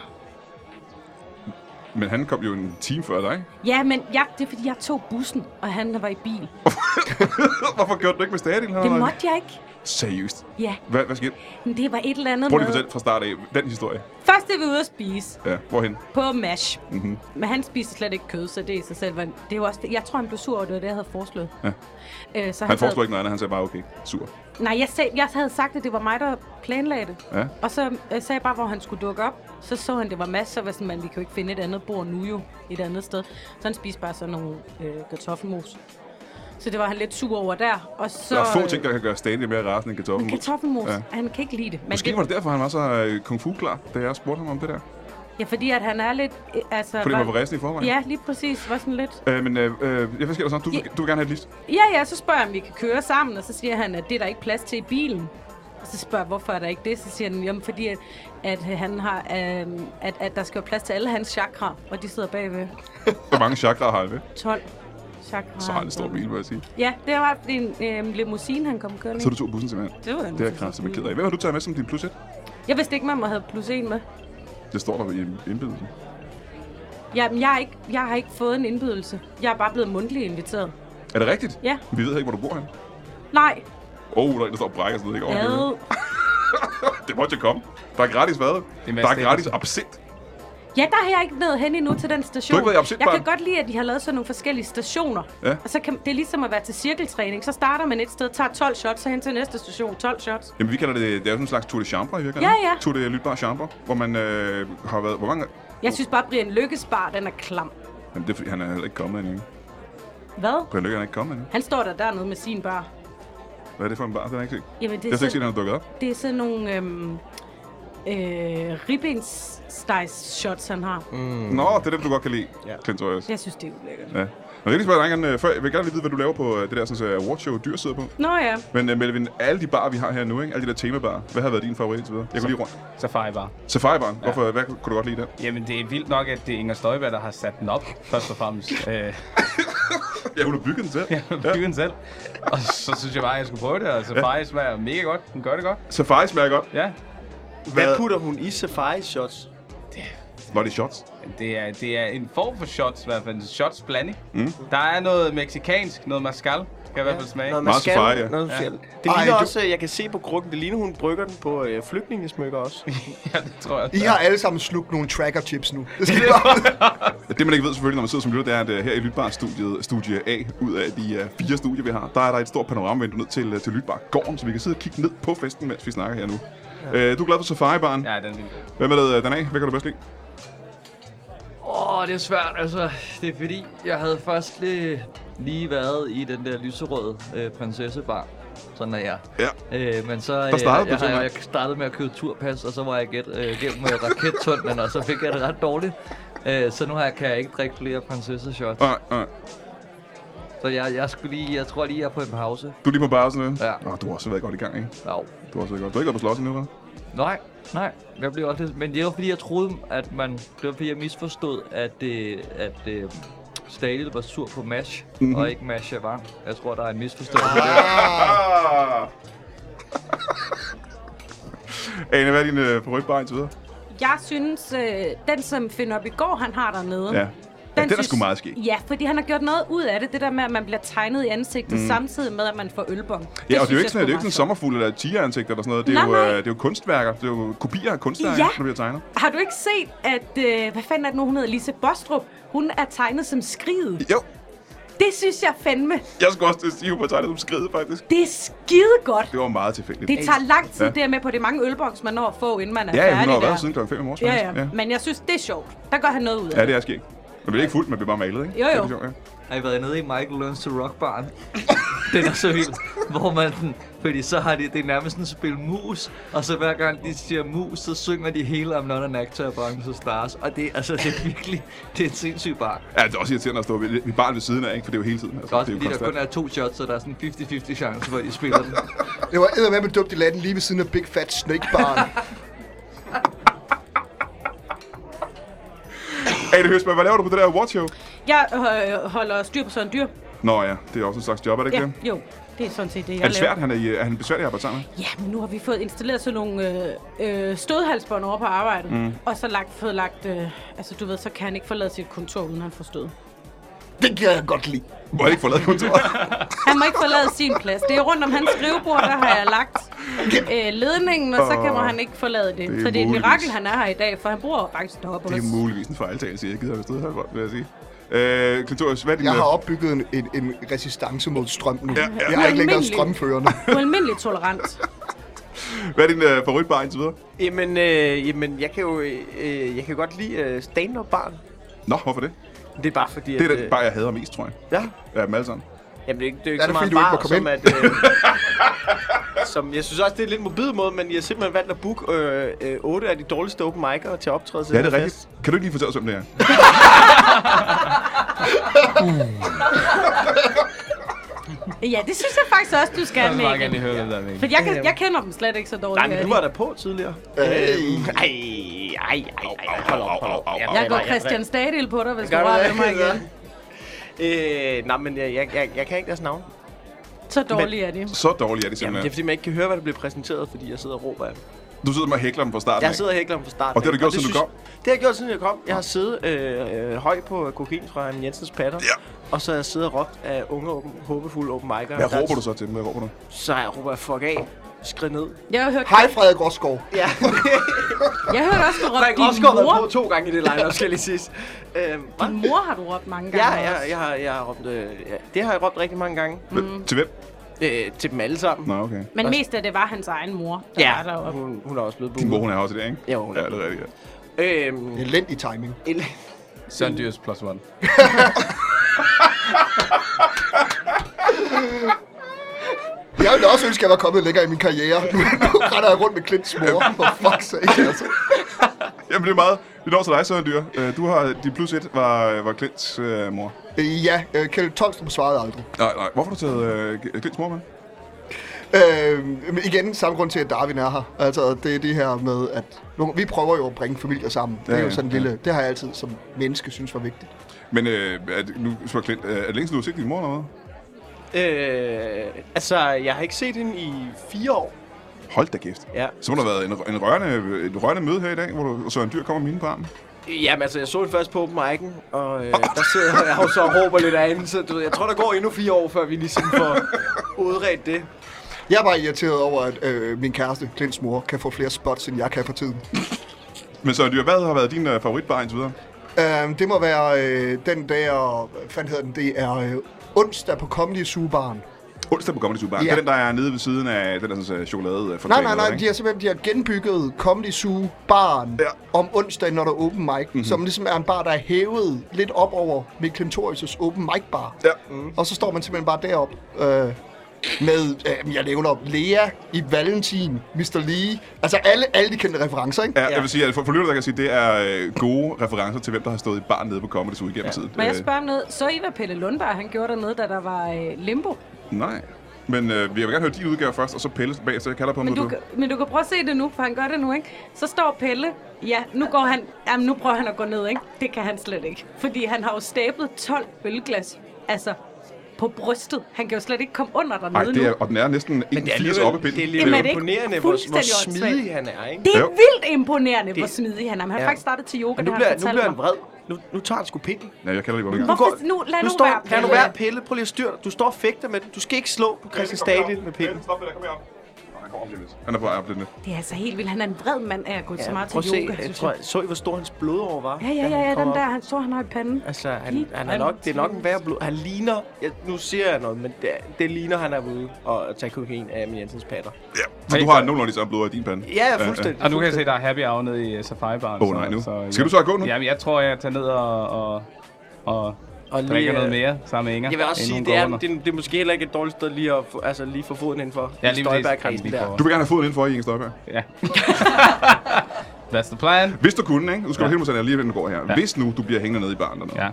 Speaker 1: Men han kom jo en time før dig.
Speaker 6: Ja, men jeg, det er fordi, jeg tog bussen, og han var i bil.
Speaker 1: hvorfor gjorde du ikke med Stadil?
Speaker 6: Det måtte jeg ikke.
Speaker 1: Seriøst.
Speaker 6: Ja,
Speaker 1: Hvad, hvad skete?
Speaker 6: men det var et eller andet
Speaker 1: Prøv lige at
Speaker 6: med-
Speaker 1: fortælle fra start af den historie.
Speaker 6: Først er vi ude at spise
Speaker 1: Ja, hvorhen?
Speaker 6: på MASH. Mm-hmm. Men han spiste slet ikke kød, så det i sig selv var... Det var også, jeg tror, han blev sur over, det var det, jeg havde foreslået.
Speaker 1: Ja.
Speaker 6: Øh, så
Speaker 1: Han foreslog ikke noget andet, han sagde bare, okay, sur.
Speaker 6: Nej, jeg, sag, jeg havde sagt, at det var mig, der planlagde det.
Speaker 1: Ja.
Speaker 6: Og så øh, sagde jeg bare, hvor han skulle dukke op. Så så han, det var masser, så var jeg sådan, man, vi kan jo ikke finde et andet bord nu jo, et andet sted. Så han spiste bare sådan nogle øh, kartoffelmos. Så det var han lidt sur over der. Og så,
Speaker 1: Der er få
Speaker 6: øh,
Speaker 1: ting, der kan gøre Stanley mere rasende end kartoffelmos.
Speaker 6: Kartoffelmos.
Speaker 1: Ja.
Speaker 6: Ja. Han kan ikke lide det. Men
Speaker 1: Måske var det derfor, han var så øh, kung fu klar, da jeg spurgte ham om det der.
Speaker 6: Ja, fordi at han er lidt... øh, Altså,
Speaker 1: Fordi han var forresten i forvejen.
Speaker 6: Ja, lige præcis. Var sådan lidt...
Speaker 1: Øh, men øh, øh, jeg hvad sker der så? Du,
Speaker 6: Ja.
Speaker 1: du vil gerne have et lift.
Speaker 6: Ja, ja, så spørger han, om vi kan køre sammen, og så siger han, at det er der ikke plads til i bilen. Og så spørger jeg, hvorfor er der ikke det? Så siger han, jamen fordi, at, at, han har, øhm, at, at der skal være plads til alle hans chakra, og de sidder bagved
Speaker 1: Hvor mange chakraer har han ved?
Speaker 6: 12 chakra.
Speaker 1: Så har han en stor bil, vil jeg sige.
Speaker 6: Ja, det var en øhm, limousine, han kom kørende
Speaker 1: Så
Speaker 6: i.
Speaker 1: du tog bussen simpelthen.
Speaker 6: Det var
Speaker 1: Det er jeg kraftigt ked af. Hvad har du taget med som din plus et?
Speaker 6: Jeg vidste ikke, man må have plus en med.
Speaker 1: Det står der i indbydelsen.
Speaker 6: Jamen, jeg, er ikke, jeg har ikke fået en indbydelse. Jeg er bare blevet mundtligt inviteret.
Speaker 1: Er det rigtigt?
Speaker 6: Ja.
Speaker 1: Vi ved ikke, hvor du bor henne.
Speaker 6: Nej,
Speaker 1: Åh, oh, der er en, der står og brækker sådan noget. Ikke? Over
Speaker 6: ad.
Speaker 1: det måtte jeg komme. Der er gratis hvad?
Speaker 5: er Mads
Speaker 1: Der altså, er
Speaker 5: Steffensen.
Speaker 1: gratis absint.
Speaker 6: Ja, der har jeg ikke nået hen endnu til den station.
Speaker 1: Du har ikke været i opsigt,
Speaker 6: jeg
Speaker 1: barn?
Speaker 6: kan godt lide, at de har lavet sådan nogle forskellige stationer.
Speaker 1: Ja.
Speaker 6: Og så kan, det er ligesom at være til cirkeltræning. Så starter man et sted, tager 12 shots, så hen til næste station 12 shots.
Speaker 1: Jamen, vi kalder det, det er jo sådan en slags tour de chambre i virkeligheden.
Speaker 6: Ja, ja.
Speaker 1: Tour de lytbare chambre, hvor man øh, har været... Hvor mange...
Speaker 6: Jeg synes bare, at Brian Lykkes bar, den er klam.
Speaker 1: Jamen, det er fordi, han er heller ikke kommet endnu.
Speaker 6: Hvad?
Speaker 1: Brian Lykke han er ikke kommet endnu.
Speaker 6: Han står der dernede med sin bar.
Speaker 1: Hvad er det for en bar? Den har jeg ikke set.
Speaker 6: Jamen,
Speaker 1: Jeg
Speaker 6: det
Speaker 1: har
Speaker 6: er,
Speaker 1: slet ikke set,
Speaker 6: sådan,
Speaker 1: at han er dukket op.
Speaker 6: det er sådan nogle øhm, øh, ribbenstegs shots, han har. Mm.
Speaker 1: Mm. Nå, det er dem, du godt kan lide, ja. Clint Torres.
Speaker 6: Jeg synes, det er ulækkert.
Speaker 1: Ja. Nå, jeg kan lige spørge dig, Anker, øh, før, jeg vil gerne lige vide, hvad du laver på øh, det der sådan, så awardshow, dyr sidder på.
Speaker 6: Nå ja,
Speaker 1: Men uh, Melvin, alle de barer, vi har her nu, ikke? alle de der temabarer, hvad har været din favorit indtil videre? Jeg går lige rundt.
Speaker 5: Safari Bar.
Speaker 1: Safari Barn, hvorfor, hvad kunne kunne du godt lide der?
Speaker 5: Jamen, det er vildt nok, at det er Inger Støjberg, der har sat den op, først og fremmest. Øh,
Speaker 1: Ja, hun har bygget den selv.
Speaker 5: ja, byen selv. Og så synes jeg bare, at jeg skulle prøve det, og Safari smager mega godt. Den gør det godt.
Speaker 1: Safari smager godt.
Speaker 5: Ja,
Speaker 2: Hvad putter hun i safari shots?
Speaker 1: Var det shots?
Speaker 5: Det er, det er en form for shots, i hvert fald en shots blanding. Mm. Der er noget meksikansk, noget mascal, kan jeg i hvert fald smage.
Speaker 2: Noget
Speaker 1: Meget
Speaker 2: mascal,
Speaker 1: safari, ja.
Speaker 2: noget fjeld. Det
Speaker 4: Ej,
Speaker 2: ligner
Speaker 4: du-
Speaker 2: også, øh, jeg kan se på krukken, det ligner, hun brygger den på øh, flygtningesmykker også.
Speaker 5: ja, det tror jeg også.
Speaker 4: I
Speaker 5: der er.
Speaker 4: har alle sammen slugt nogle tracker chips nu. Det skal I bare...
Speaker 1: Det man ikke ved selvfølgelig, når man sidder som lytter, det er, at øh, her i Lytbar-studiet, studie A, ud af de uh, fire studier, vi har, der er der et stort panoramavindue ned til, uh, til Lytbar-gården, så vi kan sidde og kigge ned på festen, mens vi snakker her nu. Ja. Uh, du er glad for Safari-baren. Ja.
Speaker 5: Ja, den er vild.
Speaker 1: Hvem er det, øh, den af? Hvad kan du bedst lide?
Speaker 3: Åh, det er svært, altså. Det er fordi, jeg havde først lige, lige været i den der lyserøde øh, prinsessebar. Sådan er jeg.
Speaker 1: Ja.
Speaker 3: Øh, men så øh,
Speaker 1: Der startede du
Speaker 3: jeg,
Speaker 1: simpelthen.
Speaker 3: jeg, jeg startede med at købe turpas, og så var jeg gæt, øh, gennem øh, rakettunnelen, og så fik jeg det ret dårligt. Øh, så nu har jeg, kan jeg ikke drikke flere prinsesseshots.
Speaker 1: Nej, nej.
Speaker 3: Så jeg, jeg, skulle lige, jeg tror lige, jeg er på en pause.
Speaker 1: Du er lige på bare sådan noget?
Speaker 3: Ja.
Speaker 1: Nå, du har også været godt i gang, ikke?
Speaker 3: Au.
Speaker 1: Du har også været godt. Du har ikke været på slås endnu, hva'?
Speaker 3: Nej, nej. Jeg blev også lidt... Men det var fordi, jeg troede, at man... Det var fordi, jeg misforstod, at, øh, at øh, Stadil var sur på Mash, mm-hmm.
Speaker 1: Mhm.
Speaker 3: og ikke Mash jeg var. Jeg tror, der er en misforståelse.
Speaker 1: Ah! Ane, hvad er din øh, favoritbar indtil videre?
Speaker 6: jeg synes, øh, den som finder op i går, han har dernede.
Speaker 1: Ja. ja den er sgu meget skæg.
Speaker 6: Ja, fordi han har gjort noget ud af det, det der med, at man bliver tegnet i ansigtet, mm. samtidig med, at man får ølbong.
Speaker 1: Ja, og det er jo
Speaker 6: synes
Speaker 1: ikke sådan, det er jo ikke sådan
Speaker 6: jeg sgu meget
Speaker 1: sommerfugle eller tigeransigter eller sådan noget. Det er,
Speaker 6: Nej,
Speaker 1: jo, øh,
Speaker 6: nej.
Speaker 1: det er jo kunstværker. Det er jo kopier af kunstværker,
Speaker 6: Ja.
Speaker 1: når vi har tegnet.
Speaker 6: sjovt. Har du ikke set, at... Øh, hvad fanden er det nu, hun hedder? Lise Bostrup. Hun er tegnet som skriget.
Speaker 1: Jo,
Speaker 6: Det synes jeg fandme.
Speaker 1: jeg skulle også til at sige, hun var tegnet som skridt, faktisk.
Speaker 6: Det er skide godt.
Speaker 1: Det var meget tilfældigt.
Speaker 6: Det tager lang tid,
Speaker 1: Ja.
Speaker 6: ja. det her med på. Det er mange ølboks, man når at få, inden man er
Speaker 1: ja, ja, hun
Speaker 6: færdig
Speaker 1: har jo
Speaker 6: der.
Speaker 1: været siden klokken 5 i morges,
Speaker 6: ja,
Speaker 1: faktisk.
Speaker 6: ja, Men jeg synes, det er sjovt. Der gør han noget ud af
Speaker 1: ja. det er skægt. Man bliver ikke fuldt, man bliver bare malet, ikke?
Speaker 6: Jo, jo.
Speaker 1: Det er sjovt, ja.
Speaker 3: Har I været nede i Michael Learns to Rock Barn? den er så vild. Hvor man... sådan- Fordi så har de... Det er nærmest sådan et spil mus, og så hver gang de siger mus, så synger de hele om Not an Actor og Bronze Stars. Og det, altså, det er virkelig... Det er et sindssygt bar.
Speaker 1: ja, det er også irriterende at stå ved, ved barn ved siden af, ikke? For det er jo hele tiden. Altså,
Speaker 3: Også
Speaker 1: det er jo
Speaker 3: fordi der
Speaker 1: konstant.
Speaker 3: kun er to shots, så der er sådan en 50-50 chance for, at de spiller den.
Speaker 4: det var eddermame dumt i landen lige ved siden af Big Fat Snake Barn.
Speaker 1: Ane Høsberg, hvad laver du på det der awardshow?
Speaker 6: Jeg øh, holder styr på sådan dyr.
Speaker 1: Nå ja, det er også en slags job, er det ikke
Speaker 6: Ja,
Speaker 1: det?
Speaker 6: jo. Det er sådan set det, jeg
Speaker 1: Er det
Speaker 6: laver.
Speaker 1: svært? Han er, i- er han besværlig at arbejde sammen med?
Speaker 6: Ja, men nu har vi fået installeret sådan nogle øh, øh, stødhalsbånd over på arbejdet. Mm. Og så lagt, fået lagt... Øh, altså, du ved, så kan han ikke forlade sit kontor, uden han får stød.
Speaker 4: Det kan jeg godt lide.
Speaker 1: Må jeg ikke få lavet kontoret?
Speaker 6: Han må ikke forlade sin plads. Det er rundt om hans skrivebord, der har jeg lagt øh, ledningen, og så kan
Speaker 1: Åh,
Speaker 6: han ikke forlade det.
Speaker 1: det er
Speaker 6: så det er et
Speaker 1: muligvis.
Speaker 6: mirakel, han er her i dag, for han bor faktisk deroppe
Speaker 1: Det er
Speaker 6: også.
Speaker 1: muligvis en fejltagelse, jeg gider have stået her, vil jeg sige. Øh, Klintorius, hvad er din...
Speaker 4: Jeg har
Speaker 1: øh,
Speaker 4: opbygget en, en, en resistance mod strøm nu.
Speaker 1: Ja,
Speaker 4: Ja,
Speaker 1: ja.
Speaker 4: ja. Jeg er ikke længere
Speaker 6: Almindelig.
Speaker 4: strømførende.
Speaker 6: Ualmindeligt tolerant.
Speaker 1: Hvad er din øh, favoritbar indtil videre?
Speaker 2: Jamen, øh, jamen, jeg kan jo øh, jeg kan godt lide øh, stand-up-barn.
Speaker 1: Nå, hvorfor det?
Speaker 2: Det er bare fordi,
Speaker 1: Det er
Speaker 2: at...
Speaker 1: den
Speaker 2: øh,
Speaker 1: bar, jeg hader mest, tror jeg.
Speaker 2: Ja,
Speaker 1: Ja, dem alle sammen.
Speaker 2: Jamen, det er ikke, det er jo
Speaker 4: Er
Speaker 2: ikke så
Speaker 4: det
Speaker 2: meget
Speaker 4: fordi, du ikke må
Speaker 2: bar,
Speaker 4: komme
Speaker 2: som at... Øh, som, jeg synes også, det er en lidt mobil måde, men jeg har simpelthen valgt at booke øh, øh, 8 af de dårligste open mic'er til optræde.
Speaker 1: Ja, det er rigtigt. Kan du ikke lige fortælle os, hvem det er?
Speaker 6: Ja, det synes jeg faktisk også, du skal
Speaker 5: vil meget gerne
Speaker 6: med.
Speaker 5: lige høre, hvad der er med.
Speaker 6: For jeg, kan, jeg kender dem slet ikke så dårligt.
Speaker 2: Nej, men du var der på tidligere.
Speaker 4: Hey.
Speaker 2: Øhm, Ej, ej, ej, ej, hold op, hold op.
Speaker 1: Au, au, au, au.
Speaker 6: Jeg går Christian Stadil på dig, hvis du
Speaker 2: Gør du
Speaker 6: rører
Speaker 2: det?
Speaker 6: ved mig igen.
Speaker 2: Øh, nej, men jeg, jeg, jeg, jeg kan ikke deres navn.
Speaker 6: Så dårlige er de.
Speaker 1: Så dårlig er det
Speaker 2: Jamen,
Speaker 1: simpelthen.
Speaker 2: det er fordi, man ikke kan høre, hvad der bliver præsenteret, fordi jeg sidder og råber af dem.
Speaker 1: Du sidder med og hækler dem fra starten.
Speaker 2: Jeg
Speaker 1: af.
Speaker 2: sidder og hækler dem fra starten.
Speaker 1: Og det har du
Speaker 2: af,
Speaker 1: gjort, siden du
Speaker 2: synes- Det har jeg gjort, siden jeg kom. Jeg har siddet øh, øh, høj på kokain fra en Jensens patter.
Speaker 1: Ja.
Speaker 2: Og så har jeg siddet og råbt af unge, åben, håbefulde open mic'ere.
Speaker 1: Hvad
Speaker 2: Der-
Speaker 1: råber du så til dem? Hvad råber du?
Speaker 2: Så jeg råber jeg, fuck af. Skrid ned.
Speaker 6: Jeg har hørt,
Speaker 4: Hej Frederik Rosgaard.
Speaker 2: Ja.
Speaker 6: jeg har hørt også, du råbte
Speaker 2: Frederik
Speaker 6: din
Speaker 2: Rosgaard har været på
Speaker 6: mor.
Speaker 2: to gange i det line, skal jeg lige sige. Øhm, hva?
Speaker 6: Din mor har du råbt mange gange
Speaker 2: ja, ja,
Speaker 6: også.
Speaker 2: jeg har, jeg har råbt, øh, ja, det har jeg råbt rigtig mange gange.
Speaker 1: Mm. Til hvem?
Speaker 2: Øh, til dem alle sammen.
Speaker 1: Nå, okay.
Speaker 6: Men mest af det var hans egen mor, der var
Speaker 2: Ja,
Speaker 6: deroppe.
Speaker 2: hun, hun er også blevet
Speaker 1: Din mor,
Speaker 2: buet.
Speaker 1: hun er også i dag, ikke?
Speaker 2: Ja, hun er.
Speaker 1: Ja, det er rigtigt. Ja.
Speaker 2: Øhm,
Speaker 4: Elendig timing.
Speaker 2: el-
Speaker 5: Søren Dyrs plus one.
Speaker 4: Jeg ville også ønske, at jeg var kommet længere i min karriere. Nu, nu retter jeg rundt med Clint's mor. For fuck's sake, altså.
Speaker 1: Jamen, det er meget. Vi når til dig, Søren Dyr. Øh, Du har... Din plus et var, var Klint's øh, mor.
Speaker 4: Øh, Ja, øh, Kjeld Tolstrup svarede aldrig.
Speaker 1: Nej, nej. Hvorfor har du taget øh, Klint's mor med?
Speaker 4: Øh, men igen, samme grund til, at Darwin er her. Altså, det er det her med, at nu- vi prøver jo at bringe familier sammen. Det
Speaker 1: Ja,
Speaker 4: er jo
Speaker 1: ja,
Speaker 4: sådan en
Speaker 1: ja.
Speaker 4: lille... Det har jeg altid som menneske synes var vigtigt.
Speaker 1: Men øh, er det, nu spørger Klint, øh, er det længe siden, du har set din mor eller hvad?
Speaker 2: øh, altså, jeg har ikke set hende i fire år.
Speaker 1: Hold da kæft.
Speaker 2: Ja.
Speaker 1: Så må der have været en, en rørende, et rørende møde her i dag, hvor du, Søren Dyr kommer med mine på armen.
Speaker 2: Jamen altså, jeg så det først på open mic'en, og øh, der sidder jeg jo så og råber lidt af hende, så du ved, jeg tror, der går endnu fire år, før vi ligesom får udredt det.
Speaker 4: Jeg er bare irriteret over, at øh, min kæreste, Klint's mor, kan få flere spots, end jeg kan for tiden.
Speaker 1: Men Søren Dyr, hvad har været din øh, favoritbar indtil videre?
Speaker 4: Øhm, det må være øh, den der, hvad fanden hedder den, det er øh, onsdag på Comedy Sugebaren.
Speaker 1: Onsdag på Comedy Zoo Bar. Ja.
Speaker 4: Ja.
Speaker 1: Det er den, der er nede ved siden af den der sådan, øh, chokolade
Speaker 4: Nej, nej, nej, de har simpelthen de har genbygget Comedy Sugebaren
Speaker 1: Ja. Mhm.
Speaker 4: ja. om onsdag, når der er open mic, mm-hmm. som ligesom er en bar, der er hævet lidt op over Mikkel Klintorius' open mic bar.
Speaker 1: Ja.
Speaker 4: Mm. Og så står man simpelthen bare deroppe øh, med, øh, jeg nævner op, Lea i Valentin, Mr. Lee, altså alle, alle de kendte referencer, ikke?
Speaker 1: Ja, jeg vil sige, at for, for lytter, der kan jeg sige, det er øh, gode referencer til, hvem der har stået i bar nede på Comedy Zoo igennem ja. tiden.
Speaker 6: Må jeg
Speaker 1: Øh,
Speaker 6: spørge om noget? Så I, hvad Pelle Lundberg han gjorde dernede, da der var øh, limbo?
Speaker 1: Nej. Men øh, jeg vil gerne høre din udgave først, og så Pelles bag, så jeg kalder på ham,
Speaker 6: Men
Speaker 1: når
Speaker 6: du, kan- men du kan prøve at se det nu, for han gør det nu, ikke? Så står Pelle, ja, nu går han, jamen nu prøver han at gå ned, ikke? Det kan han slet ikke. Fordi han har jo stablet 12 ølglas, altså på brystet. Han kan jo slet ikke komme under dernede
Speaker 1: Ej, det er,
Speaker 6: nu.
Speaker 1: og den er næsten
Speaker 2: Men det er
Speaker 1: 1,80 oppe i
Speaker 2: alligevel, det er
Speaker 1: pinden.
Speaker 2: alligevel
Speaker 6: Jamen, er det ikke
Speaker 2: imponerende, hvor, hvor
Speaker 6: fuldstændig åndssvagt?
Speaker 2: smidig han er, ikke?
Speaker 6: Det er
Speaker 1: Jo.
Speaker 6: vildt imponerende, hvor
Speaker 2: Det-
Speaker 6: smidig han er. Men han har
Speaker 2: Ja.
Speaker 6: faktisk startet til yoga,
Speaker 2: Men nu
Speaker 6: det har
Speaker 2: bliver,
Speaker 6: han
Speaker 2: nu
Speaker 6: fortalt
Speaker 2: bliver han
Speaker 6: mig.
Speaker 2: vred. Nu, nu tager han sgu pille.
Speaker 1: Ja, jeg kalder lige på ham.
Speaker 6: Hvorfor- nu- lad nu
Speaker 2: står,
Speaker 6: være,
Speaker 2: Lad nu
Speaker 6: Pelle.
Speaker 2: være, Pille. Prøv lige at styre dig. Du står og fægter med den. Du skal ikke slå på Christian Stadil med Pille.
Speaker 1: Stop det der, kom herop. Nå, Han kommer op lige om lidt. Han er på vej op lidt. lidt.
Speaker 6: Det er altså helt vildt. Han er en vred mand af at gå så meget
Speaker 2: prøv at
Speaker 6: til
Speaker 2: se.
Speaker 6: yoga,
Speaker 2: Jeg
Speaker 6: synes
Speaker 2: tror,
Speaker 6: jeg.
Speaker 2: jeg så I, hvor stor hans blodår var?
Speaker 6: Ja, ja,
Speaker 2: da han
Speaker 6: ja, ja,
Speaker 2: kom
Speaker 6: den
Speaker 2: op?
Speaker 6: der, han så, han har i panden.
Speaker 2: Altså, han,
Speaker 6: Helt
Speaker 2: han er nok, det er nok en værre blod. Han ligner, jeg, nu siger jeg noget, men det, det ligner, han er ude og tage kokain af Emil Jensens patter.
Speaker 1: Ja. Så du har nogenlunde samme blod i din pande?
Speaker 2: Ja, ja, fuldstændig.
Speaker 5: Og nu kan jeg se, der er happy hour nede i øh, Safari Bar.
Speaker 1: Åh, nej, nu. Skal du så gå nu?
Speaker 5: Jamen, jeg tror, jeg tager ned og, og, og,
Speaker 2: Og lige,
Speaker 5: drikker noget
Speaker 2: øh,
Speaker 5: mere sammen med Inger.
Speaker 2: Jeg vil også
Speaker 5: inden
Speaker 2: sige,
Speaker 5: hun
Speaker 2: det
Speaker 5: går
Speaker 2: er,
Speaker 5: under.
Speaker 2: det, er, det er måske heller ikke et dårligt sted lige at få, altså, lige få foden indenfor.
Speaker 5: Ja, lige præcis.
Speaker 2: Støjbergkredsen
Speaker 5: Lige
Speaker 2: der.
Speaker 5: for-
Speaker 1: Du vil gerne have foden indenfor i Inger Støjberg.
Speaker 5: Ja. That's the plan.
Speaker 1: Hvis du kunne, ikke? Nu skal du
Speaker 5: Ja.
Speaker 1: helt måske lige, hvordan det går her.
Speaker 5: Ja.
Speaker 1: Hvis nu du bliver hængende nede i baren dernede.
Speaker 5: Ja.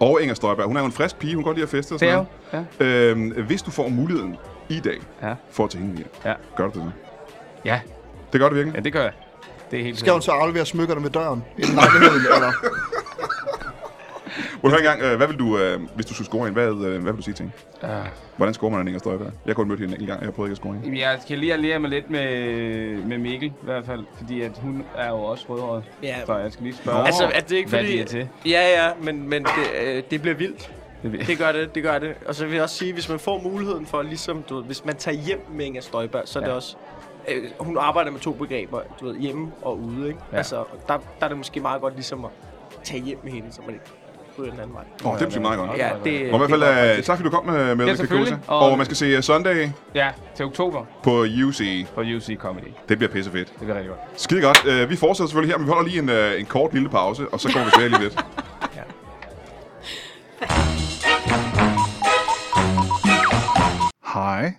Speaker 1: Og Inger Støjberg, hun er jo en frisk pige, hun kan godt lide at feste og
Speaker 5: Det er
Speaker 1: sådan
Speaker 5: jo. Ja.
Speaker 1: noget. Øhm, hvis du får muligheden i dag
Speaker 5: Ja.
Speaker 1: for at tage hende hjem,
Speaker 5: Ja.
Speaker 1: gør du det så?
Speaker 5: Ja.
Speaker 1: Det gør du virkelig.
Speaker 5: ja, det gør jeg. Det er helt
Speaker 4: Skal hun så aflevere smykkerne ved døren? Inden lejligheden, eller?
Speaker 1: Må du høre engang, øh, hvad vil du, øh, hvis du skulle score en, hvad, øh, hvad vil du sige til hende?
Speaker 5: Ah.
Speaker 1: Hvordan scorer man en Inger Støjberg? Jeg har kun mødt hende en gang, og jeg prøvede ikke at score hende.
Speaker 5: Jamen, Jeg skal lige alliere mig lidt med, med Mikkel, i hvert fald, fordi at hun er jo også rødhåret.
Speaker 2: Ja.
Speaker 5: Så jeg skal lige spørge,
Speaker 1: Nå.
Speaker 2: Altså, er det ikke
Speaker 5: hvad
Speaker 2: fordi...
Speaker 5: de er til.
Speaker 2: Ja, ja, men, men det, øh, det bliver vildt.
Speaker 5: Det ved jeg.
Speaker 2: Det gør det, det gør det. Og så vil jeg også sige, hvis man får muligheden for, ligesom, du ved, hvis man tager hjem med Inger Støjberg, så er ja. det
Speaker 5: Ja.
Speaker 2: også... Øh, hun arbejder med to begreber, du ved, hjemme og ude, ikke? Ja.
Speaker 5: Ja.
Speaker 2: Altså, der, der er det måske meget godt ligesom at tage hjem med hende, så man ikke ryger den anden vej.
Speaker 1: Åh, oh, det betyder meget godt.
Speaker 2: Ja, det,
Speaker 1: Og i hvert fald,
Speaker 2: det var
Speaker 1: øh,
Speaker 2: faktisk-
Speaker 1: tak fordi du kom med, med
Speaker 5: Ja,
Speaker 1: ja,
Speaker 5: selvfølgelig.
Speaker 1: Og,
Speaker 5: Og-
Speaker 1: og man skal se uh, Sunday
Speaker 5: Ja, til oktober
Speaker 1: på UC.
Speaker 5: på UC Comedy.
Speaker 1: Det bliver pissefedt.
Speaker 5: Det bliver rigtig godt.
Speaker 1: Skide godt. Uh, vi fortsætter selvfølgelig her, men vi holder lige en, uh, en kort lille pause, og så kommer vi tilbage lige lidt. Hej.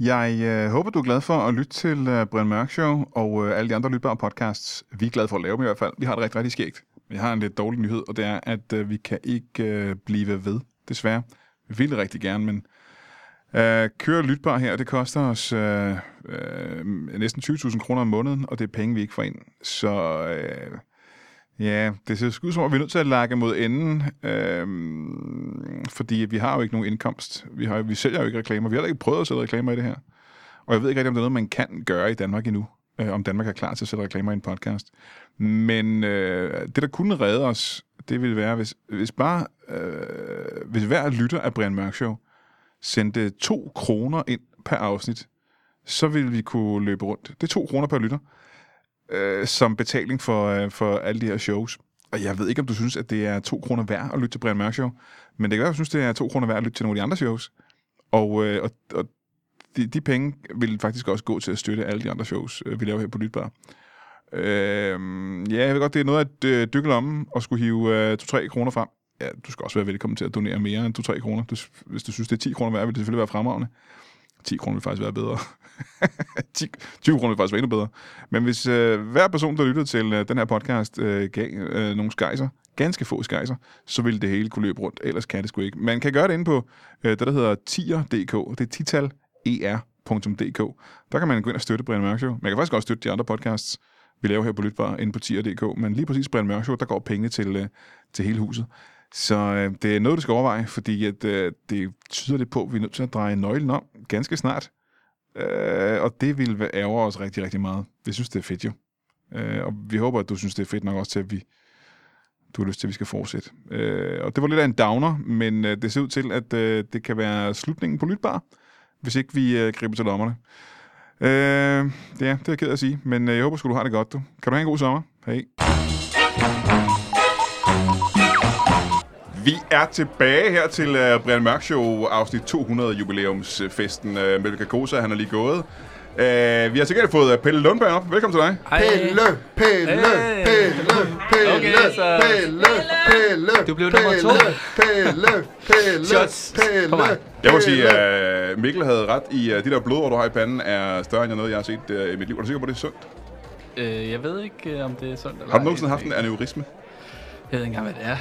Speaker 1: Jeg øh, håber, du er glad for at lytte til øh, Brian Mørk Show og øh, alle de andre lytbare podcasts. Vi er glade for at lave dem i hvert fald. Vi har det rigtig, rigtig skægt. Vi har en lidt dårlig nyhed, og det er, at øh, vi kan ikke øh, blive ved, desværre. Vi ville rigtig gerne, men øh, køre lytbar her, det koster os øh, øh, næsten 20.000 kroner om måneden, og det er penge, vi ikke får ind. Så øh, ja, det ser sgu ud som om, vi er nødt til at lakke mod enden, øh, fordi vi har jo ikke nogen indkomst. Vi, har, jo- vi sælger jo ikke reklamer. Vi har da ikke prøvet at sælge reklamer i det her. Og jeg ved ikke rigtig, om det er noget, man kan gøre i Danmark endnu. Øh, om Danmark er klar til at sætte reklamer i en podcast. Men øh, det, der kunne redde os, det ville være, hvis, hvis bare øh, hvis hver lytter af Brian Mørk Show sendte to kroner ind per afsnit, så ville vi kunne løbe rundt. Det er to kroner per lytter, øh, som betaling for, øh, for alle de her shows. Og jeg ved ikke, om du synes, at det er to kroner værd at lytte til Brian Mørk Show, men det kan være, at du synes, det er to kroner værd at lytte til nogle af de andre shows. Og, øh, og, og de, de penge vil faktisk også gå til at støtte alle de andre shows, øh, vi laver her på Lytbar. Øh, ja, jeg ved godt, det er noget at øh, dykke lommen og skulle hive øh, 2-3 kroner frem. Ja, du skal også være velkommen til at donere mere end 2-3 kroner. Du, hvis du synes, det er 10 kroner værd, vil det selvfølgelig være fremragende. 10 kroner vil faktisk være bedre. 10, 20 kroner vil faktisk være endnu bedre. Men hvis øh, hver person, der lyttede til øh, den her podcast, øh, gav øh, nogle skejser, ganske få skejser, så ville det hele kunne løbe rundt. Ellers kan det sgu ikke. Man kan gøre det inde på øh, det, der hedder tier.dk. Det er tital E er.dk. Der kan man gå ind og støtte Brian Mørk Show. Man kan faktisk også støtte de andre podcasts, vi laver her på Lytbar, inde på tier.dk. Men lige præcis Brian Mørk Show, der går pengene til, øh, til hele huset. Så øh, det er noget, du skal overveje, fordi at, øh, det tyder det på, at vi er nødt til at dreje nøglen om ganske snart. Øh, og det vil væ- ærge os rigtig, rigtig meget. Vi synes, det er fedt jo. Øh, og vi håber, at du synes, det er fedt nok også til, at vi, du har lyst til, at vi skal fortsætte. Øh, og det var lidt af en downer, men øh, det ser ud til, at øh, det kan være slutningen på Lytbar, hvis ikke vi øh, griber til lommerne. Øh, ja, det er jeg ked af at sige, men øh, jeg håber sgu, du har det godt, du. Kan du have en god sommer? Hej. Vi er tilbage her til uh, Brian Mørk Show, afsnit 200 jubilæumsfesten. Uh, Melvika Kosa, han er lige gået. Uh, vi har til gengæld fået øh, Pelle Lundberg op. Velkommen til dig.
Speaker 4: Pille, pille,
Speaker 3: Hey.
Speaker 4: pille, pille,
Speaker 3: Okay, så-
Speaker 4: pille, pille,
Speaker 3: Du blev nummer to.
Speaker 4: Pille, pille,
Speaker 3: Shots på mig.
Speaker 4: pille,
Speaker 1: Jeg må sige,
Speaker 4: pille.
Speaker 1: at uh, Mikkel havde ret i, at uh, de der blodår, du har i panden, er større end noget, jeg har set uh, i mit liv. Er du sikker på, at det er sundt?
Speaker 3: Øh, jeg ved ikke, øh, om det er sundt eller
Speaker 1: Har du
Speaker 3: ej.
Speaker 1: nogensinde haft en aneurisme?
Speaker 3: Jeg ved ikke engang, hvad det er.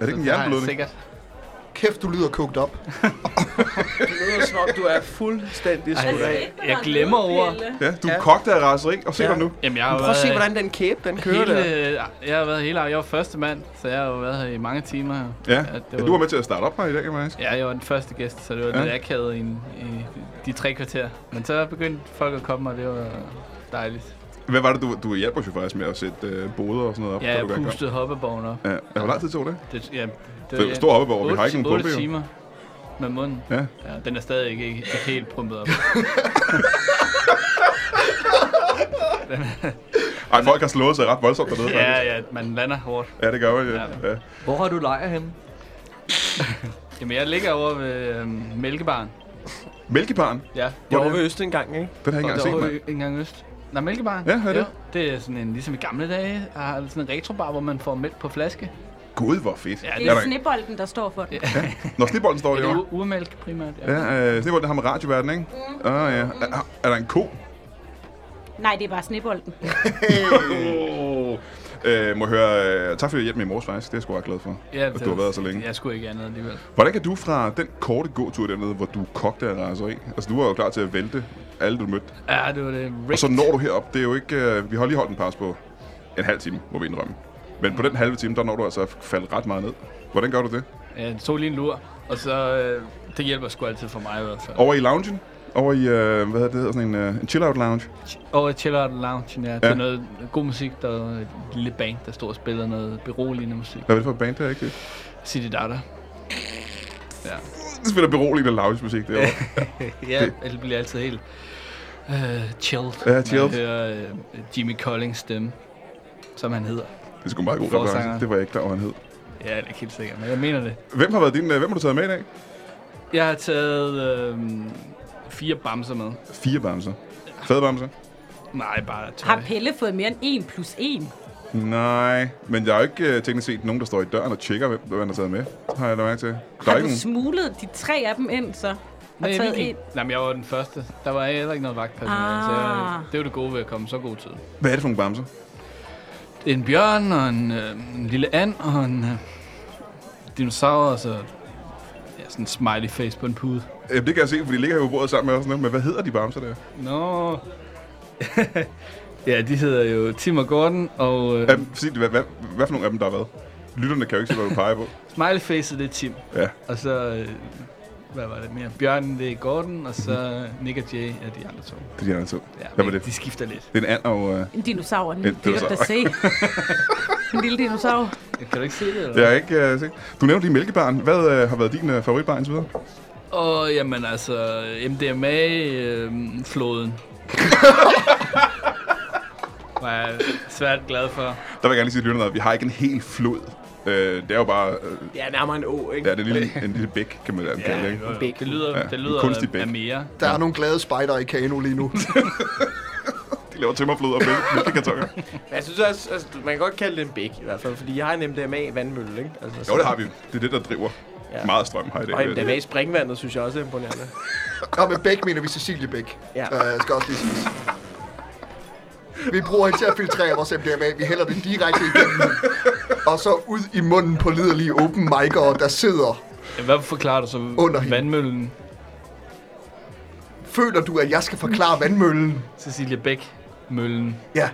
Speaker 1: Er det ikke en
Speaker 3: Det har jeg
Speaker 1: hjerneblødning?
Speaker 3: sikkert.
Speaker 4: Kæft, du lyder kogt op.
Speaker 2: Det lyder som om, du er fuldstændig skudt af.
Speaker 3: Jeg- jeg glemmer over-
Speaker 1: Ja, du er kogt af raseri, og se
Speaker 2: Ja.
Speaker 1: dig nu.
Speaker 3: Jamen, jeg har jo
Speaker 2: Prøv at se,
Speaker 3: været-
Speaker 2: hvordan den kæbe, den kører
Speaker 3: Hele,
Speaker 2: der.
Speaker 3: jeg har været hele Jeg var første mand, så jeg har jo været her i mange timer. her.
Speaker 1: Ja,
Speaker 3: det var,
Speaker 1: du var med til at starte op her i dag, faktisk.
Speaker 3: Ja, jeg var den første gæst, så det var
Speaker 1: Ja.
Speaker 3: ja. lidt akavet i, en- i de tre kvarter. Men så begyndte folk at komme, og det var dejligt.
Speaker 1: Hvad var det, du, du hjalp os jo faktisk med at sætte uh, boder og sådan noget op?
Speaker 3: Ja,
Speaker 1: da
Speaker 3: jeg
Speaker 1: du gang kom?
Speaker 3: pustede hoppeborgen op.
Speaker 1: Ja, ja, hvor lang tid tog det?
Speaker 3: Det, ja,
Speaker 1: Det er jo stor hoppeborg, vi har ikke nogen pumpe, jo.
Speaker 3: timer med munden.
Speaker 1: Ja.
Speaker 3: Ja, den er stadig ikke, ikke helt pumpet op.
Speaker 1: Ej, folk har slået sig ret voldsomt dernede,
Speaker 3: ja,
Speaker 1: faktisk.
Speaker 3: ja, man lander hårdt.
Speaker 1: Ja, det gør man, ja.
Speaker 3: Ja.
Speaker 1: ja.
Speaker 5: Hvor har du lejer henne?
Speaker 3: Jamen, jeg ligger over ved øhm, Mælkebaren.
Speaker 1: Mælkeparen,
Speaker 3: Ja,
Speaker 2: Jeg var ved Øst en gang, ikke?
Speaker 1: den har jeg ikke engang set, mand.
Speaker 3: ikke engang øst. Nej, Mælkebaren.
Speaker 1: Ja, hvad er det?
Speaker 3: Jo, det er sådan en, ligesom i gamle dage, har sådan en retrobar, hvor man får mælk på flaske.
Speaker 1: Gud, hvor fedt.
Speaker 3: Ja,
Speaker 6: Det
Speaker 1: Er
Speaker 6: er
Speaker 1: der-
Speaker 6: snebolden, der står for det.
Speaker 1: Nå, snibolden står
Speaker 3: Det
Speaker 1: derovre.
Speaker 3: er Mm. u- urmælk primært. Ja.
Speaker 1: Ja, øh, snibolden har med radioverden, ikke? Ah, ja. Er, er der en ko?
Speaker 6: Nej, det er bare snebolden.
Speaker 1: Oh. Øh, må jeg høre, øh, tak fordi du hjalp mig i morges faktisk, det er jeg sgu ret glad for,
Speaker 3: Ja,
Speaker 1: at du har været her så længe.
Speaker 3: Jeg skulle ikke andet alligevel.
Speaker 1: Hvordan kan du fra den korte gåtur dernede, hvor du kogte af raseri, altså du var jo klar til at vælte alle, du mødte,
Speaker 3: Ja, det var det.
Speaker 1: og så når du herop, det er jo ikke, øh, vi har lige holdt en pause på en halv time, må vi indrømme. Men på den halve time, der når du altså at falde ret meget ned. Hvordan gør du det?
Speaker 7: Jeg tog lige en lur, og så... Øh, det hjælper sgu altid for mig i hvert fald.
Speaker 1: Over i loungen? Over i, øh, hvad hedder det, hedder sådan en, øh, en chill-out lounge?
Speaker 7: Og chill out lounge, ja.
Speaker 1: Ja.
Speaker 7: Til noget god musik, der er et lille band, der står og spiller noget beroligende musik.
Speaker 1: Hvad er det for et band, der er ikke det?
Speaker 7: City Data. Ja,
Speaker 1: Det spiller beroligende lounge-musik derovre.
Speaker 7: ja det bliver altid helt uh, chilled,
Speaker 1: Ja,
Speaker 7: når
Speaker 1: chilled.
Speaker 7: jeg hører uh, Jimmy Collins stemme, som han hedder.
Speaker 1: Det er sgu en meget god
Speaker 7: Forsanger.
Speaker 1: reference. Det var jeg ikke klar over, han hed.
Speaker 7: Ja, det er ikke helt sikkert, men jeg mener det.
Speaker 1: Hvem har, været din, øh, hvem har du taget med i dag?
Speaker 7: Jeg har taget øh, fire bamser med.
Speaker 1: Fire bamser. Fede bamser?
Speaker 7: Nej, bare tøj.
Speaker 6: Har Pelle fået mere end 1 plus 1?
Speaker 1: Nej, men der er jo ikke øh, teknisk set nogen, der står i døren og tjekker, hvem hvem der er taget med. Har jeg lagt mærke til. Der er
Speaker 6: Har
Speaker 1: ikke
Speaker 6: du
Speaker 1: nogen.
Speaker 6: smuglet de tre af dem ind, så? Og
Speaker 7: Nej, jeg,
Speaker 6: taget
Speaker 7: gik-
Speaker 6: en?
Speaker 7: Nej, men jeg var den første. Der var heller ikke noget vagtpersonale, ah. så jeg,
Speaker 6: Ah.
Speaker 7: det var det gode ved at komme så god tid.
Speaker 1: Hvad er det for nogle bamser?
Speaker 7: En bjørn og en, øh, en lille and og en øh, dinosaur og så ja, sådan en smiley face på en pude.
Speaker 1: Jamen, Øh, det kan jeg se, for de ligger jo på bordet sammen med os nu. Men hvad hedder de bamser der?
Speaker 7: Nå. ja, de hedder jo Tim og Gordon og øh,
Speaker 1: Ja, sig, hvad, hvad, hvad for nogle af dem, der har været? Lytterne kan jo ikke se, hvad du peger på.
Speaker 7: smiley face det er Tim.
Speaker 1: Ja.
Speaker 7: Og så, øh, hvad var det mere? Bjørnen det er Gordon og så Nick og Jay er de andre to.
Speaker 1: Det er de andre to.
Speaker 7: Ja,
Speaker 1: Hvad var
Speaker 7: men
Speaker 1: det?
Speaker 7: De skifter lidt.
Speaker 1: Det er en and og... Øh,
Speaker 6: En dinosaur. En,
Speaker 1: En
Speaker 6: det kan du da se. en lille dinosaur.
Speaker 7: Kan du ikke se det? Eller?
Speaker 1: det er ikke... Øh, sikkert. du nævnte din mælkebarn. Hvad øh, har været din øh, favoritbarn indtil videre?
Speaker 7: Og jamen altså, MDMA-floden. Øh, floden. var jeg svært glad for.
Speaker 1: Der vil jeg gerne lige sige til lytterne, at vi har ikke en hel flod. Øh, det er jo bare... Øh,
Speaker 2: Ja, nærmere en å, ikke?
Speaker 1: ja, det er en lille, en lille bæk, kan man kalde det. ikke?
Speaker 7: Det lyder,
Speaker 1: Ja,
Speaker 7: ja, det
Speaker 1: en
Speaker 7: lyder
Speaker 1: kunstig
Speaker 7: af,
Speaker 1: bæk.
Speaker 7: af mere.
Speaker 4: Der er nogle glade spejder i Kano lige nu.
Speaker 1: De laver tømmerflod og mæl- mælkekartoner.
Speaker 2: Men jeg synes også, altså, man kan godt kalde det en bæk i hvert fald, fordi jeg har en MDMA-vandmølle, ikke? Altså,
Speaker 1: Jo, det har vi. Det er det, der driver ja.
Speaker 2: Ja.
Speaker 1: meget strøm her i dag.
Speaker 2: Og MDMA-springvandet synes jeg også er imponerende.
Speaker 4: Og med Bæk mener vi Cecilie Bæk.
Speaker 2: Ja.
Speaker 4: Øh, skal også lige sige. Vi bruger hende til at filtrere vores MDMA. Vi hælder den direkte igennem. Og så ud i munden på liderlige open mic'ere, der sidder.
Speaker 7: Hvad forklarer du så
Speaker 4: Under hende.
Speaker 7: vandmøllen,
Speaker 4: Føler du, at jeg skal forklare vandmøllen?
Speaker 7: Cecilie Bæk? Møllen.
Speaker 4: Ja,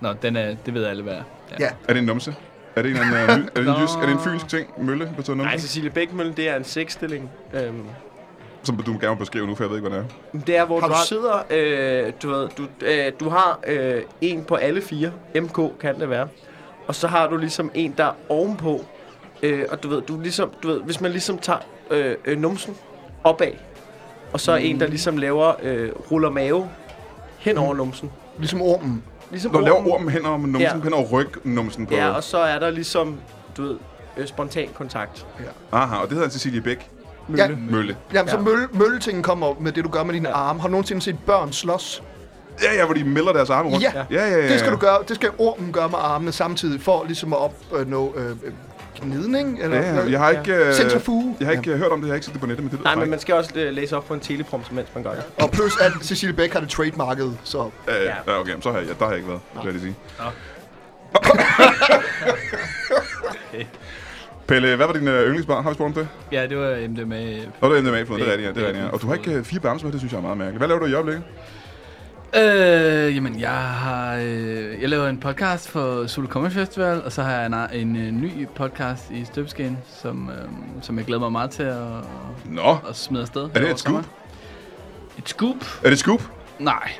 Speaker 7: Nå, den er, det ved alle, hvad er.
Speaker 4: ja.
Speaker 1: Er det en numse? Er det en, anden, øh, my- er det en,
Speaker 7: Nå.
Speaker 1: jysk, er det en fynsk ting? Mølle betyder numse?
Speaker 2: Nej, Cecilie Bækmølle, det er en sexstilling. Øhm,
Speaker 1: Som du gerne må beskrive nu, for jeg ved ikke, hvad det er.
Speaker 2: det er, hvor
Speaker 4: Har
Speaker 2: du,
Speaker 4: du
Speaker 2: du sidder, øh, du, ved, du, øh, du har øh, en på alle fire, MK kan det være, og så har du ligesom en, der er ovenpå, øh, og du ved, du ligesom, du ved, hvis man ligesom tager øh, øh, numsen opad, og så er mm. Mm. en, der ligesom laver, øh, ruller mave hen over numsen.
Speaker 4: Ligesom ormen.
Speaker 2: Ligesom
Speaker 1: Du laver
Speaker 2: ormen.
Speaker 1: ormen hen over numsen,
Speaker 2: Ja.
Speaker 1: hen over rygnumsen på.
Speaker 2: Ja, og så er der ligesom, du ved, øh, spontan kontakt.
Speaker 1: Aha, og det hedder Cecilie Bæk.
Speaker 4: Ja.
Speaker 1: Mølle.
Speaker 4: Jamen, så
Speaker 2: Ja.
Speaker 4: mølle, mølletingen kommer med det, du gør med dine arme. Har du nogensinde set børn slås?
Speaker 1: Ja, ja, hvor de melder deres arme rundt.
Speaker 4: Ja.
Speaker 1: ja, ja, ja.
Speaker 4: Det skal du gøre. Det skal ormen gøre med armene samtidig, for ligesom at opnå øh, øh, gnidning. Eller
Speaker 1: Ja, ja. Jeg har ikke... Øh,
Speaker 4: Centrifuge.
Speaker 1: Jeg har ikke øh, hørt om det, jeg har ikke set det på nettet, men det lyder
Speaker 2: Nej, men
Speaker 1: frækt.
Speaker 2: man skal også øh, læse op på en teleprompter, mens man gør det.
Speaker 4: Og plus at Cecilie Bæk har det trademarket, så
Speaker 1: Øh,
Speaker 2: Ja.
Speaker 1: ja, okay, men så har jeg, ja, der har jeg ikke været, vil jeg lige sige. Pelle, hvad var din øh, yndlingsbar? Har vi spurgt om det?
Speaker 7: Ja, det var MDMA.
Speaker 1: Nå, det er MDMA-floden, det er rigtigt, ja, det er
Speaker 7: Det er
Speaker 1: rigtigt. ja. Og du har ikke
Speaker 7: flod.
Speaker 1: øh, fire bamser med, det synes jeg er meget mærkeligt. Hvad laver du i øjeblikket?
Speaker 7: Øh, jamen, jeg har... Øh, jeg laver en podcast for Solo Comedy Festival, og så har jeg en, en, en ny podcast i Støbsken, som, øh, som jeg glæder mig meget til at,
Speaker 1: Nå,
Speaker 7: at smide afsted.
Speaker 1: er det
Speaker 7: over
Speaker 1: et scoop?
Speaker 7: sommeren. Et scoop?
Speaker 1: Er det et scoop?
Speaker 7: Nej.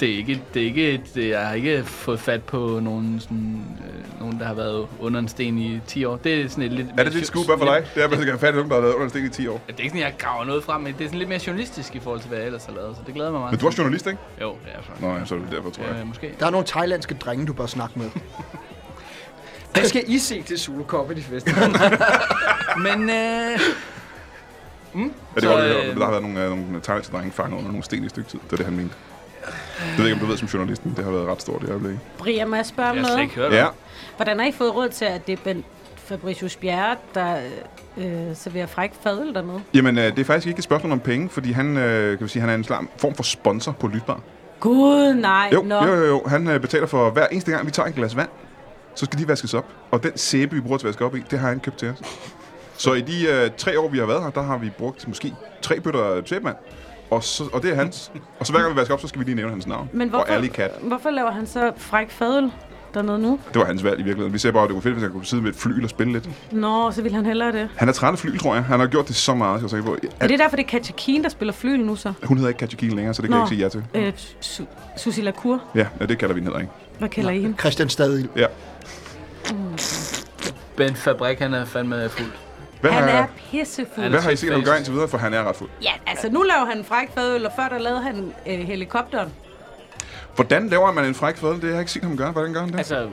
Speaker 7: Det er ikke, det er ikke et, det, jeg har ikke fået fat på nogen, sådan, øh, nogen, der har været under en sten i 10 år. Det er sådan et lidt...
Speaker 1: Er det dit scoop er for dig? Det er, at man skal have fat i nogen, der har været under en sten i 10 år.
Speaker 7: Ja, Det er ikke sådan, jeg graver noget frem, men det er sådan lidt mere journalistisk i forhold til, hvad jeg ellers har lavet, så det glæder jeg mig meget.
Speaker 1: Men du er også journalist, ikke?
Speaker 7: til. Jo, det er jeg faktisk.
Speaker 1: Nå, ja, så er det derfor, tror jeg.
Speaker 7: Øh, måske.
Speaker 4: der er nogle thailandske drenge, du bør snakke med.
Speaker 2: Hvad skal I se til Zulu Comedy Festival?
Speaker 7: Men øh,
Speaker 1: Ja, det
Speaker 7: Så,
Speaker 1: var det,
Speaker 7: øh,
Speaker 1: men der har været nogle, øh, nogle thailandske drenge fanget under nogle sten i et stykke tid. Det var det, han mente. Det ved jeg ikke, om du ved som journalisten. Det har været ret stort i øjeblikket.
Speaker 6: Brian, må jeg spørge om
Speaker 7: jeg har slet
Speaker 6: noget?
Speaker 7: ikke hørt om
Speaker 1: Ja,
Speaker 6: Hvordan har I fået råd til, at det er Bent Fabricius Bjerre, der øh, serverer fræk fadøl dernede?
Speaker 1: jamen øh, det er faktisk ikke et spørgsmål om penge, fordi han, øh, kan vi sige, han er en slags form for sponsor på Lytbar.
Speaker 6: Gud, nej.
Speaker 1: Jo,
Speaker 6: Nå.
Speaker 1: jo, jo, jo. Han øh, betaler for hver eneste gang, vi tager et glas vand, så skal de vaskes op. Og den sæbe, vi bruger til at vaske op i, det har han købt til os. Så i de øh, tre år, vi har været her, der har vi brugt måske tre bøtter sæbemand. Og, så, og det er hans. Og så hver gang vi vasker op, så skal vi lige nævne hans navn.
Speaker 6: Men hvorfor,
Speaker 1: Og Ali Kat.
Speaker 6: hvorfor laver han så fræk fadøl? dernede nu?
Speaker 1: Det var hans valg i virkeligheden. Vi ser bare, at det kunne fedt, hvis han kunne sidde med et fly og spille lidt.
Speaker 6: Nå, så ville han hellere det.
Speaker 1: Han er træt af fly, tror jeg. Han har gjort det så meget, skal jeg er sikker på.
Speaker 6: Er det derfor, det er Katja Keen, der spiller flyl nu så?
Speaker 1: Hun hedder ikke Katja Kiel længere, så det kan
Speaker 6: Nå.
Speaker 1: jeg ikke sige ja til.
Speaker 6: Øh, Su- Susie Lacour,
Speaker 1: Ja, ja det kalder vi den heller ikke.
Speaker 6: hvad kalder I hende?
Speaker 4: Christian Stadil.
Speaker 1: Ja.
Speaker 7: Ben Fabrik, han er fandme fuld.
Speaker 1: Hvad,
Speaker 6: Han
Speaker 1: har,
Speaker 6: er
Speaker 7: Han
Speaker 6: pissefuld.
Speaker 1: hvad har I
Speaker 7: sådan
Speaker 1: set, han
Speaker 7: fast.
Speaker 1: gør indtil videre? For han er ret fuld.
Speaker 6: Ja, altså nu laver han en fræk fadøl, og før der lavede han øh, helikopteren.
Speaker 1: Hvordan laver man en fræk fadel? Det har jeg ikke set ham gøre. Hvordan gør han det?
Speaker 2: Altså,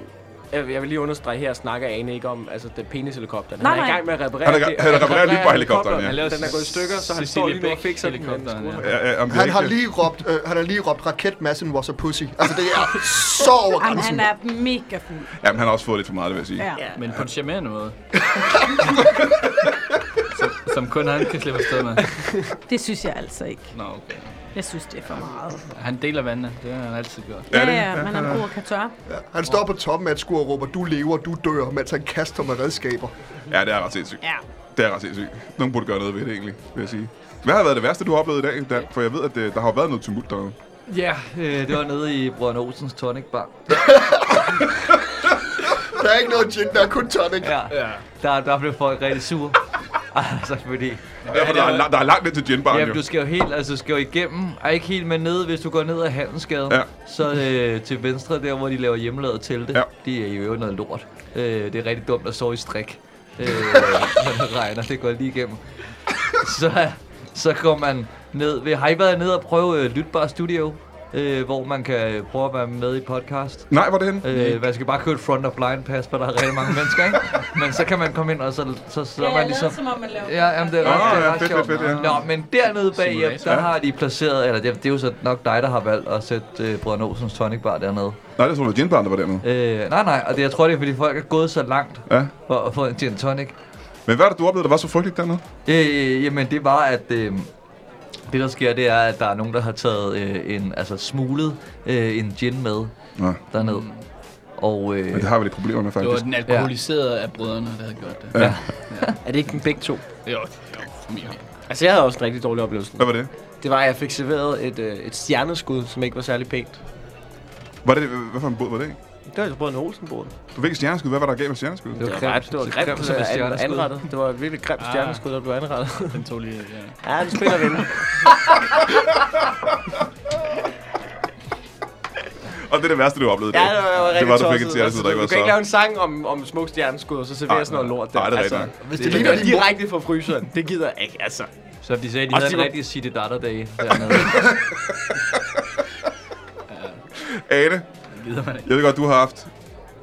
Speaker 2: jeg, jeg vil lige understrege her, snakker Ane ikke om altså, det penishelikopteren.
Speaker 6: Nej,
Speaker 2: han er
Speaker 6: nej.
Speaker 2: i gang med at reparere
Speaker 1: Han er i gang-
Speaker 2: det-
Speaker 1: han reparerer lige på helikopteren, ja.
Speaker 2: Han laver- Den er gået i stykker, så han
Speaker 7: Cecilie
Speaker 2: står lige med at
Speaker 7: Beck
Speaker 2: fikse den. med en
Speaker 7: helikopteren, ja.
Speaker 2: skruer.
Speaker 1: Ja, ja, om det
Speaker 4: Han
Speaker 1: ikke-
Speaker 4: har lige råbt, øh, han har lige råbt raketmassen was a pussy. Altså, det er så over
Speaker 6: Jamen, han
Speaker 4: grænsen.
Speaker 6: er mega fuld.
Speaker 1: Jamen, han har også fået lidt for meget, det vil jeg sige.
Speaker 6: Ja.
Speaker 7: Men på en charmerende måde. som, som kun han kan slippe afsted med.
Speaker 6: Det synes jeg altså ikke.
Speaker 7: Nå, okay.
Speaker 6: Jeg synes, det er for meget.
Speaker 7: Han deler vandene. Det har han altid gjort.
Speaker 1: Er
Speaker 6: Ja,
Speaker 1: det?
Speaker 6: ja, men han bruger katør.
Speaker 4: Han står på toppen af et skur og råber, du lever, du dør, mens han kaster med redskaber.
Speaker 1: Ja, det er ret sindssygt.
Speaker 6: Ja.
Speaker 1: Det er ret sindssygt. Nogen burde gøre noget ved det, egentlig, vil jeg sige. Hvad har været det værste, du har oplevet i dag, Dan? For jeg ved, at det, der har jo været noget tumult derude.
Speaker 3: Ja, øh, det var nede i Brønne Olsens Tonic Bar.
Speaker 4: Der er ikke noget gin, der er kun tonic. Ja.
Speaker 3: Ja, der, der blev folk rigtig sure. Altså, fordi...
Speaker 1: Ja, der, er, la- der er langt ind til ginbaren,
Speaker 3: Jamen,
Speaker 1: jo.
Speaker 3: du skal jo helt, altså, du skal jo igennem, og ikke helt, men ned, hvis du går ned ad Handelsgade,
Speaker 1: Ja.
Speaker 3: så øh, til venstre, der hvor de laver hjemmelavet telte,
Speaker 1: Ja.
Speaker 3: det er jo noget lort. Øh, det er rigtig dumt at sove i strik, øh, når det regner, det går lige igennem. Så, så går man ned, ved, har I været ned og prøve øh, Lytbar Studio? Øh, hvor man kan prøve at være med i podcast.
Speaker 1: Nej, hvor er det henne?
Speaker 3: Øh, man skal bare købe et front of line pass, for der er rigtig mange mennesker, ikke? Men så kan man komme ind, og så, så, så
Speaker 6: Ja,
Speaker 3: man
Speaker 6: jeg
Speaker 3: ligesom...
Speaker 6: lader, som om man laver
Speaker 3: Ja, jamen, det er ret,
Speaker 1: Nå,
Speaker 3: det er
Speaker 1: ja,
Speaker 3: ret
Speaker 1: fedt,
Speaker 3: sjovt.
Speaker 1: fedt, fedt, ja.
Speaker 3: Nå, men dernede bag,
Speaker 7: Simulator.
Speaker 3: der har de placeret, eller det, det er jo så nok dig, der har valgt at sætte øh, Brødren Olsens Tonic Bar dernede.
Speaker 1: Nej, det tror jeg, det var ginbaren, der var dernede.
Speaker 3: Øh, nej, nej, og det, jeg tror, det er, fordi folk er gået så langt
Speaker 1: Ja.
Speaker 3: for at få en gin tonic.
Speaker 1: Men hvad er det, du oplevede, der var så frygteligt dernede?
Speaker 3: Øh, jamen, det var, at... Øh, det, der sker, det er, at der er nogen, der har taget øh, en, altså smuglet øh, en gin med
Speaker 1: Nå,
Speaker 3: dernede.
Speaker 1: Mm.
Speaker 3: Og, øh,
Speaker 1: men det har vi lidt problemer med,
Speaker 7: Det var
Speaker 1: faktisk.
Speaker 7: den alkoholiserede af brødrene, der havde gjort det.
Speaker 1: Ja.
Speaker 2: Er det ikke den begge to?
Speaker 7: Jo, det var formentlig.
Speaker 2: Altså, jeg havde også en rigtig dårlig oplevelse.
Speaker 1: Hvad var det?
Speaker 2: Det var, at jeg fik serveret et, øh, et stjerneskud, som ikke var særlig pænt.
Speaker 1: Var det, hvad for en båd var det?
Speaker 2: Det var jo brødrene Olsen båd.
Speaker 1: Du fik et stjerneskud. Hvad var der galt med stjerneskud?
Speaker 3: Det var
Speaker 2: Det
Speaker 3: grimt.
Speaker 2: var, ret, det var
Speaker 3: Så
Speaker 2: grimt,
Speaker 3: grimt
Speaker 2: grimt
Speaker 3: som et
Speaker 2: an,
Speaker 3: stjerneskud.
Speaker 2: anrettet. Det var et virkelig grimt
Speaker 7: Ah.
Speaker 2: stjerneskud, der blev anrettet.
Speaker 7: Den tog lige... Ja.
Speaker 2: ja, det spiller vel.
Speaker 1: Og det er det værste, du har oplevet i
Speaker 2: Ja,
Speaker 1: dag.
Speaker 2: det var, jeg var rigtig
Speaker 1: det var, du fik et
Speaker 2: tosset. Altså,
Speaker 1: stjerneskud, der ikke
Speaker 2: Du
Speaker 1: var så...
Speaker 2: kan ikke lave en sang om, om smukt stjerneskud, og så
Speaker 1: Nej,
Speaker 2: servere sådan noget
Speaker 1: nej.
Speaker 2: lort.
Speaker 1: Nej, det er rigtigt
Speaker 2: altså,
Speaker 1: nok.
Speaker 2: Hvis det,
Speaker 4: Det
Speaker 2: det
Speaker 4: ligner
Speaker 2: ligner
Speaker 4: din mor.
Speaker 2: direkte fra fryseren. Det gider jeg ikke, altså.
Speaker 3: Så de sagde, de
Speaker 2: Også
Speaker 3: havde en
Speaker 2: de var-
Speaker 3: rigtig City Datter Day dernede.
Speaker 1: Ane,
Speaker 7: Gider man ikke.
Speaker 1: jeg ved godt, du har haft...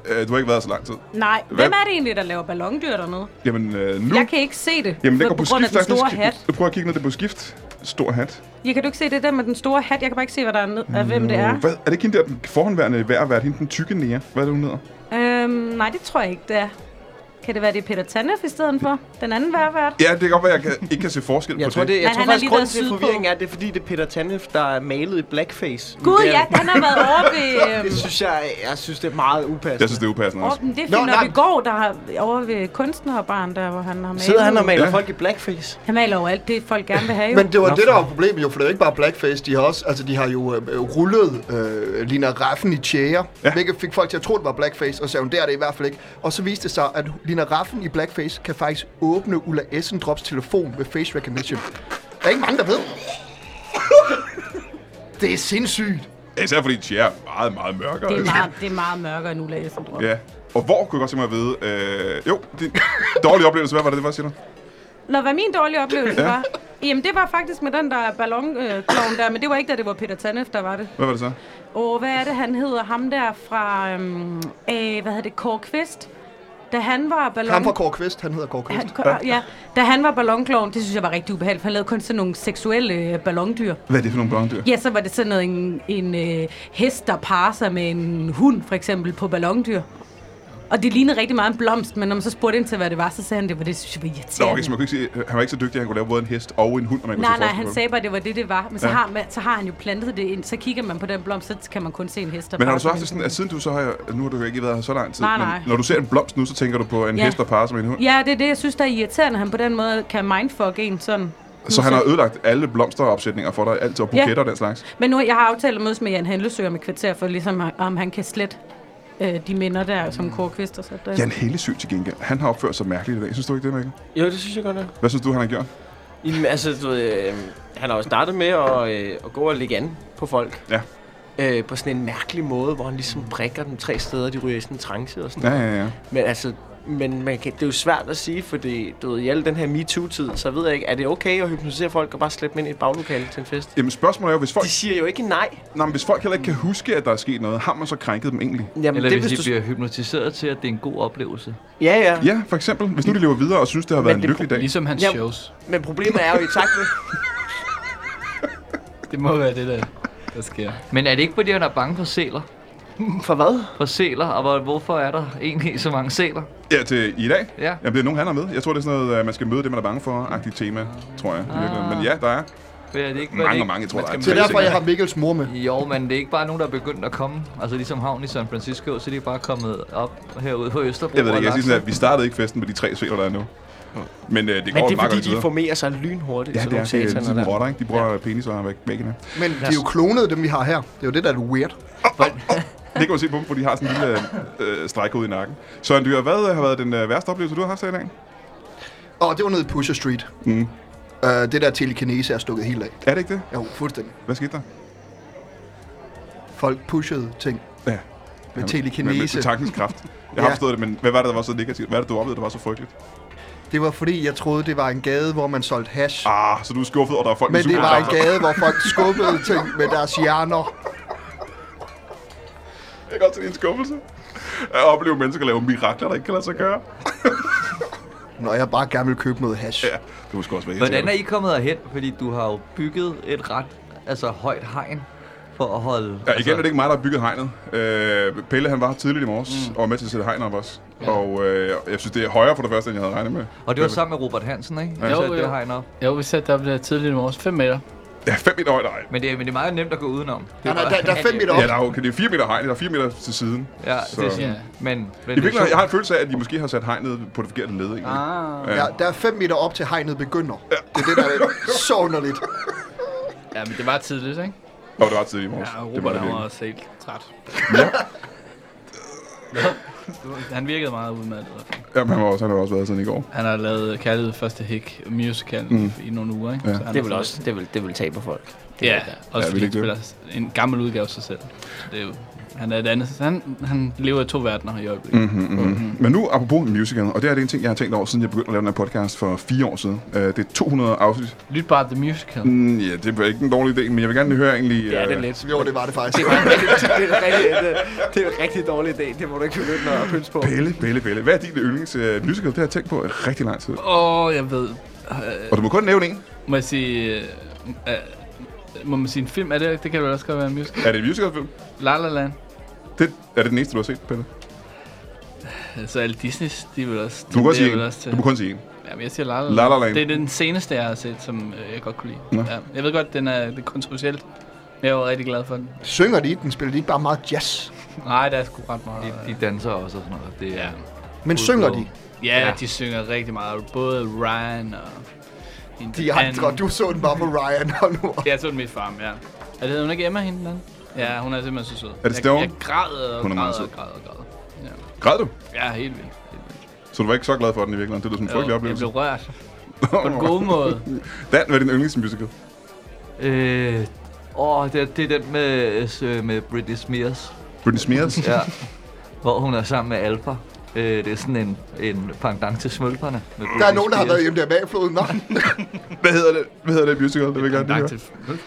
Speaker 1: Øh, du har ikke været så lang tid.
Speaker 6: Nej, hvem er det egentlig, der laver ballondyr dernede?
Speaker 1: Jamen, øh, nu...
Speaker 6: Jeg kan ikke se det,
Speaker 1: Jamen, det går
Speaker 6: for- på
Speaker 1: på,
Speaker 6: grund af
Speaker 1: skift,
Speaker 6: den store hat.
Speaker 1: faktisk. Prøv at kigge ned, det er på skift. Stor hat.
Speaker 6: Jeg kan du ikke se det der med den store hat? Jeg kan bare ikke se, hvad der er ned, af, hvem det er.
Speaker 1: Hvad, er det ikke hende der, den forhåndværende værd at være hende, den tykke nære? Hvad er det, hun hedder?
Speaker 6: Øhm, nej, det tror jeg ikke, det er. Kan det være, det er Peter Tanef i stedet for? Den anden værvært?
Speaker 1: Ja, det kan godt være, jeg kan, ikke kan se forskel på
Speaker 2: Jeg tror,
Speaker 1: det.
Speaker 2: det, jeg
Speaker 6: Men
Speaker 2: tror
Speaker 6: han har
Speaker 2: faktisk,
Speaker 6: lige
Speaker 2: grunden
Speaker 6: været
Speaker 2: til
Speaker 6: sydpå.
Speaker 2: forvirringen er, at det er, fordi det er Peter Tanef, der er malet i blackface.
Speaker 6: Gud,
Speaker 2: Det er-
Speaker 6: ja, han har været over ved... Øhm,
Speaker 2: Det synes jeg, jeg synes, det er meget upassende.
Speaker 1: Jeg synes, det er upassende også.
Speaker 6: over, men det er
Speaker 4: Nå,
Speaker 6: Finn
Speaker 4: nej.
Speaker 6: op i går, der har over ved kunstnerbaren, der hvor han har malet.
Speaker 2: Sidder han og maler
Speaker 1: Ja.
Speaker 2: ja. folk i blackface?
Speaker 6: Han maler jo alt det, folk gerne vil have. Jo.
Speaker 4: Men det var det, der var problemet jo, for det er jo ikke bare blackface, de har også, altså de har jo øh, øh, rullet øh, Lina Raffen i tjæger, ja. hvilket fik folk til at tro, det var blackface, og sagde hun, der er det i hvert fald ikke. Og så viste det sig, at Lina Raffen i blackface kan faktisk åbne Ulla Essendrops telefon med face recognition. Der er ikke mange, der ved. det er sindssygt.
Speaker 1: Især fordi Tjær er meget, meget mørkere.
Speaker 6: Det er
Speaker 1: altså.
Speaker 6: meget, det er meget mørkere end Ulla Essendrop.
Speaker 1: Ja. Og hvor kunne jeg godt tænke mig at vide... Øh, jo, det dårlig oplevelse. Hvad var det, det var, siger du?
Speaker 6: Nå, hvad min dårlige oplevelse var? Jamen, det var faktisk med den der ballonkloven der, men det var ikke, da det var Peter Tanef, der var det.
Speaker 1: Hvad var det så?
Speaker 6: Og hvad er det, han hedder? Ham der fra, øhm, øh, hvad hedder det, Kåre Kvist? Da han var ballon...
Speaker 4: Ham fra Kåre Kvist, han hedder Kåre Kvist.
Speaker 6: Han, ja, da han var ballonkloven, det synes jeg var rigtig ubehageligt, for han lavede kun sådan nogle seksuelle øh, ballondyr.
Speaker 1: Hvad er det for nogle blonde dyr?
Speaker 6: Ja, så var det sådan noget, en, en øh, hest, der parer sig med en hund, for eksempel, på ballondyr. Og det lignede rigtig meget en blomst, men når man så spurgte ind til, hvad det var, så sagde han, det var det, synes jeg var
Speaker 1: Nå,
Speaker 6: irriterende.
Speaker 1: okay, så man kunne ikke sige, øh, han var ikke så dygtig, at han kunne lave både en hest og en hund, og man kunne
Speaker 6: Nej,
Speaker 1: se
Speaker 6: nej,
Speaker 1: forskel på
Speaker 6: han
Speaker 1: dem.
Speaker 6: sagde bare, at det var det, det var. Men så,
Speaker 1: Ja.
Speaker 6: ja. har, man, så har han jo plantet det ind. Så kigger man på den blomst, så kan man kun se en hest. der
Speaker 1: Men har du
Speaker 6: bare
Speaker 1: så haft
Speaker 6: sådan
Speaker 1: det sådan,
Speaker 6: en-
Speaker 1: at siden du så har, nu har du jo ikke været her så lang tid,
Speaker 6: Nej,
Speaker 1: men
Speaker 6: nej.
Speaker 1: når du ser en blomst nu, så tænker du på en
Speaker 6: Ja.
Speaker 1: hest, der parer sig med en hund?
Speaker 6: Ja, det er det, jeg synes, der er irriterende. Han på den måde kan mindfuck en sådan.
Speaker 1: Så han har ødelagt alle blomsteropsætninger for dig, alt og buketter
Speaker 6: Ja.
Speaker 1: og den slags.
Speaker 6: Men nu, jeg har aftalt at mødes med Jan Henlesø om et kvarter, for ligesom, om han kan slet øh, de minder der, som Kåre og så der.
Speaker 1: Mm. Jan Hellesyg til gengæld, han har opført sig mærkeligt i dag. Synes du ikke det, Mikkel?
Speaker 2: Jo, det synes jeg godt nok.
Speaker 1: Hvad synes du, han har gjort?
Speaker 2: Jamen, altså, du ved, øh, han har jo startet med at, øh, at gå og lægge an på folk.
Speaker 1: Ja.
Speaker 2: Øh, på sådan en mærkelig måde, hvor han ligesom prikker dem tre steder, de ryger i sådan en trance og sådan
Speaker 1: Ja, ja, ja.
Speaker 2: Men altså, men man kan, det er jo svært at sige, fordi du ved, i alle den her MeToo-tid, så ved jeg ikke, er det okay at hypnotisere folk og bare slæbe dem ind i et baglokale til en fest?
Speaker 1: Jamen spørgsmålet er jo, hvis folk,
Speaker 2: De siger jo ikke nej.
Speaker 1: nej, men hvis folk heller ikke kan huske, at der er sket noget, har man så krænket dem egentlig?
Speaker 2: Jamen,
Speaker 3: Eller
Speaker 2: det,
Speaker 3: hvis de
Speaker 2: du...
Speaker 3: bliver hypnotiseret til, at det er en god oplevelse.
Speaker 2: Ja, ja,
Speaker 1: Ja, for eksempel. Hvis nu de lever videre og synes, det har været
Speaker 2: Men
Speaker 1: en
Speaker 2: det-
Speaker 1: lykkelig dag.
Speaker 7: Ligesom hans
Speaker 2: Ja.
Speaker 7: shows.
Speaker 2: Men problemet er jo i takt med...
Speaker 7: Det må være det, der, der sker.
Speaker 3: Men er det ikke, fordi han er bange for sæler?
Speaker 2: For hvad?
Speaker 3: For sæler, og hvor- hvorfor er der egentlig så mange sæler?
Speaker 1: Ja, til i dag?
Speaker 3: Ja.
Speaker 1: Jamen, det er nogen, han har med. Jeg tror, det er sådan noget, øh, man skal møde det, man er bange for-agtigt tema, tror jeg. Ah. Men ja, der er
Speaker 3: For er det ikke, var det
Speaker 1: mange,
Speaker 3: ikke,
Speaker 1: mange, jeg tror, der er.
Speaker 4: Det er derfor, jeg har Mikkels mor med.
Speaker 3: Jo, men det er ikke bare nogen, der er begyndt at komme. Altså ligesom havn i San Francisco, så de er bare kommet op herude på Østerbro.
Speaker 1: Jeg ved det ikke, jeg
Speaker 3: og
Speaker 1: siger sådan,
Speaker 3: lagt
Speaker 1: at vi startede ikke festen med de tre sæler, der er nu. Men øh, det
Speaker 2: Men
Speaker 1: går
Speaker 2: det
Speaker 1: det
Speaker 2: er
Speaker 1: meget
Speaker 2: fordi,
Speaker 1: godt
Speaker 2: de
Speaker 1: videre.
Speaker 2: formerer sig lynhurtigt,
Speaker 1: Ja,
Speaker 2: sådan
Speaker 1: det er, det
Speaker 2: nogle
Speaker 1: er
Speaker 2: sataner
Speaker 1: ligesom
Speaker 2: der.
Speaker 1: rotter, ikke? De bruger ja. penis og væk, væggene.
Speaker 4: Men de er jo klonede, dem vi har her. Det er jo det, der er weird.
Speaker 1: Det kan man se på dem, for de har sådan en lille øh, stræk ud i nakken. Søren Dyr, hvad øh, har været den øh, værste oplevelse, du har haft her i dag?
Speaker 4: Og det var nede i Pusher Street.
Speaker 1: Mm.
Speaker 4: Uh, det der telekinese er stukket helt af.
Speaker 1: Er det ikke det?
Speaker 4: Jo, fuldstændig.
Speaker 1: Hvad skete der?
Speaker 4: Folk pushede ting
Speaker 1: Ja.
Speaker 4: med
Speaker 1: Med, med,
Speaker 4: telekinese.
Speaker 1: med tankens kraft. Jeg har
Speaker 4: Ja.
Speaker 1: forstået det, men hvad var det, der var så negativt? Hvad er det, du oplevede, der var så frygteligt?
Speaker 4: Det var fordi, jeg troede, det var en gade, hvor man solgte hash.
Speaker 1: Ah, så du er skuffet, og der er folk
Speaker 4: Men det var en
Speaker 1: superkræfter.
Speaker 4: gade, hvor folk skubbede ting med deres hjerner.
Speaker 1: Jeg kan godt se din skuffelse. At opleve mennesker lave mirakler, der ikke kan lade sig gøre.
Speaker 4: Når jeg bare gerne vil købe noget hash.
Speaker 1: Ja, det måske også være
Speaker 3: ud. Hvordan er
Speaker 1: irriterende.
Speaker 3: I kommet herhen? Fordi du har jo bygget et ret altså, højt hegn for at holde... altså,
Speaker 1: Ja, igen er det ikke mig, der har bygget hegnet. Øh, Pelle, han var her tidligt i morges, mm. og var med til at sætte hegn op også. Ja. Og øh, jeg synes, det er højere for det første, end jeg havde regnet med.
Speaker 3: Og det var sammen med Robert Hansen, ikke? Ja.
Speaker 7: Jo,
Speaker 3: Jo, det
Speaker 7: jo.
Speaker 3: hegn op.
Speaker 7: Jo, vi satte op der tidligt i morges. 5 meter.
Speaker 1: Ja, 5 meter højt hegn.
Speaker 3: Men det, er, men det er meget nemt at gå udenom. Det
Speaker 4: Ja,
Speaker 3: er
Speaker 4: nej,
Speaker 3: bare-
Speaker 4: der, der er fem meter op.
Speaker 1: Ja, der er jo, okay, det er 4 meter hegn, der er 4 meter til siden.
Speaker 3: Ja,
Speaker 1: Så-
Speaker 3: det er sådan,
Speaker 7: Ja.
Speaker 3: men... men
Speaker 1: I virkeligheden,
Speaker 3: det-
Speaker 1: jeg har en følelse af, at de måske har sat hegnet på det forkerte led, egentlig.
Speaker 7: Ah.
Speaker 4: Ja, der er 5 meter op til hegnet begynder. Det er det, der er så underligt.
Speaker 7: Ja, men det var tidligt, ikke?
Speaker 1: Og det var ret tidligt i morges.
Speaker 7: Ja,
Speaker 1: det var
Speaker 7: Robert
Speaker 1: det
Speaker 7: han var
Speaker 1: virkelig.
Speaker 7: også helt træt. Ja. han virkede meget udmattet. i hvert fald.
Speaker 1: Jamen, han, var også, han har også været sådan i går.
Speaker 7: Han har lavet Kærlighed Første Hik musical mm. i nogle uger, ikke?
Speaker 1: Ja.
Speaker 7: han
Speaker 2: Det
Speaker 7: er
Speaker 2: vil
Speaker 7: sådan-
Speaker 2: også det vil, det vil tage på folk. Det
Speaker 7: Ja,
Speaker 2: vil det.
Speaker 7: også
Speaker 1: Ja,
Speaker 7: fordi
Speaker 1: vil
Speaker 7: han
Speaker 1: det ikke
Speaker 7: spiller en gammel udgave af sig selv. Så det er jo, han er et andet. Han, han lever i to verdener i øjeblikket. Mm.
Speaker 1: Men nu, apropos musical, og det her det er en ting, jeg har tænkt over, siden jeg begyndte at lave den her podcast for fire år siden. Øh, det er 200 afsnit.
Speaker 7: Lyt bare The Musical.
Speaker 1: Mm, ja, det var ikke en dårlig idé, men jeg vil gerne lige høre egentlig...
Speaker 2: Det er
Speaker 1: øh,
Speaker 2: det lidt.
Speaker 4: Jo, det var det faktisk.
Speaker 2: Det er, en rigtig, det, er en rigtig, det, det er en rigtig dårlig idé. Det må du ikke begynde at pynse på.
Speaker 1: Pelle, Pelle, Pelle. Hvad er din yndlings øh, musical? Det har jeg tænkt på i rigtig lang tid.
Speaker 7: Åh, oh, jeg ved.
Speaker 1: Og du må kun nævne en.
Speaker 7: Må jeg sige... Øh, øh, må man sige en film? Er det, det kan vel også godt være en musical.
Speaker 1: Er det en musicalfilm?
Speaker 7: La La Land.
Speaker 1: Det, er det den eneste, du har set, Pelle?
Speaker 7: Altså alle Disney's, de vil også...
Speaker 1: Du må, kun
Speaker 7: tenderer
Speaker 1: sige
Speaker 7: vel
Speaker 1: en.
Speaker 7: også til.
Speaker 1: du må kun sige en.
Speaker 7: Jamen, jeg siger La La,
Speaker 1: La La Land.
Speaker 7: Det er den seneste, jeg har set, som øh, jeg godt kunne lide.
Speaker 1: Nå.
Speaker 7: Ja. Jeg ved godt, den er, det er kontroversielt. Men jeg var rigtig glad for den.
Speaker 4: Synger de ikke? Den spiller de ikke bare meget jazz?
Speaker 7: Nej, der er sgu ret meget.
Speaker 3: De, de danser også og sådan noget. Det er...
Speaker 4: Men synger de?
Speaker 7: Ja,
Speaker 3: Ja.
Speaker 7: ja, de synger rigtig meget. Både Ryan og...
Speaker 4: De andre. Du så den bare på Ryan, og nu
Speaker 7: Jeg så den mit farm, ja. Er det hedder hun ikke Emma, hende den anden? Ja, hun er simpelthen så sød.
Speaker 1: det Stone?
Speaker 7: Jeg, jeg græd og
Speaker 1: Hun er meget
Speaker 7: græd og
Speaker 1: sød.
Speaker 7: græd og græd.
Speaker 1: Græd du?
Speaker 7: Ja, helt vildt. Helt vildt.
Speaker 1: Så du var ikke så glad for den i virkeligheden. Det lyder som en frygtelig
Speaker 7: Jo, jeg
Speaker 1: oplevelse.
Speaker 7: blev rørt. På den gode måde.
Speaker 1: Dan, hvad er din yndlingsmusical?
Speaker 3: Øh, åh, det, er- det er den med, øh, med Britney Spears.
Speaker 1: Britney Spears?
Speaker 3: Ja. Hvor hun er sammen med Alfa. Øh, det er sådan en, en pendant til smølperne. med
Speaker 4: der er
Speaker 3: Britney
Speaker 4: nogen, der har
Speaker 3: Spears.
Speaker 4: været hjemme der bag floden. Nå,
Speaker 1: Hvad hedder det? Hvad hedder det musical? Det vil jeg gerne
Speaker 7: Tak
Speaker 1: lige høre.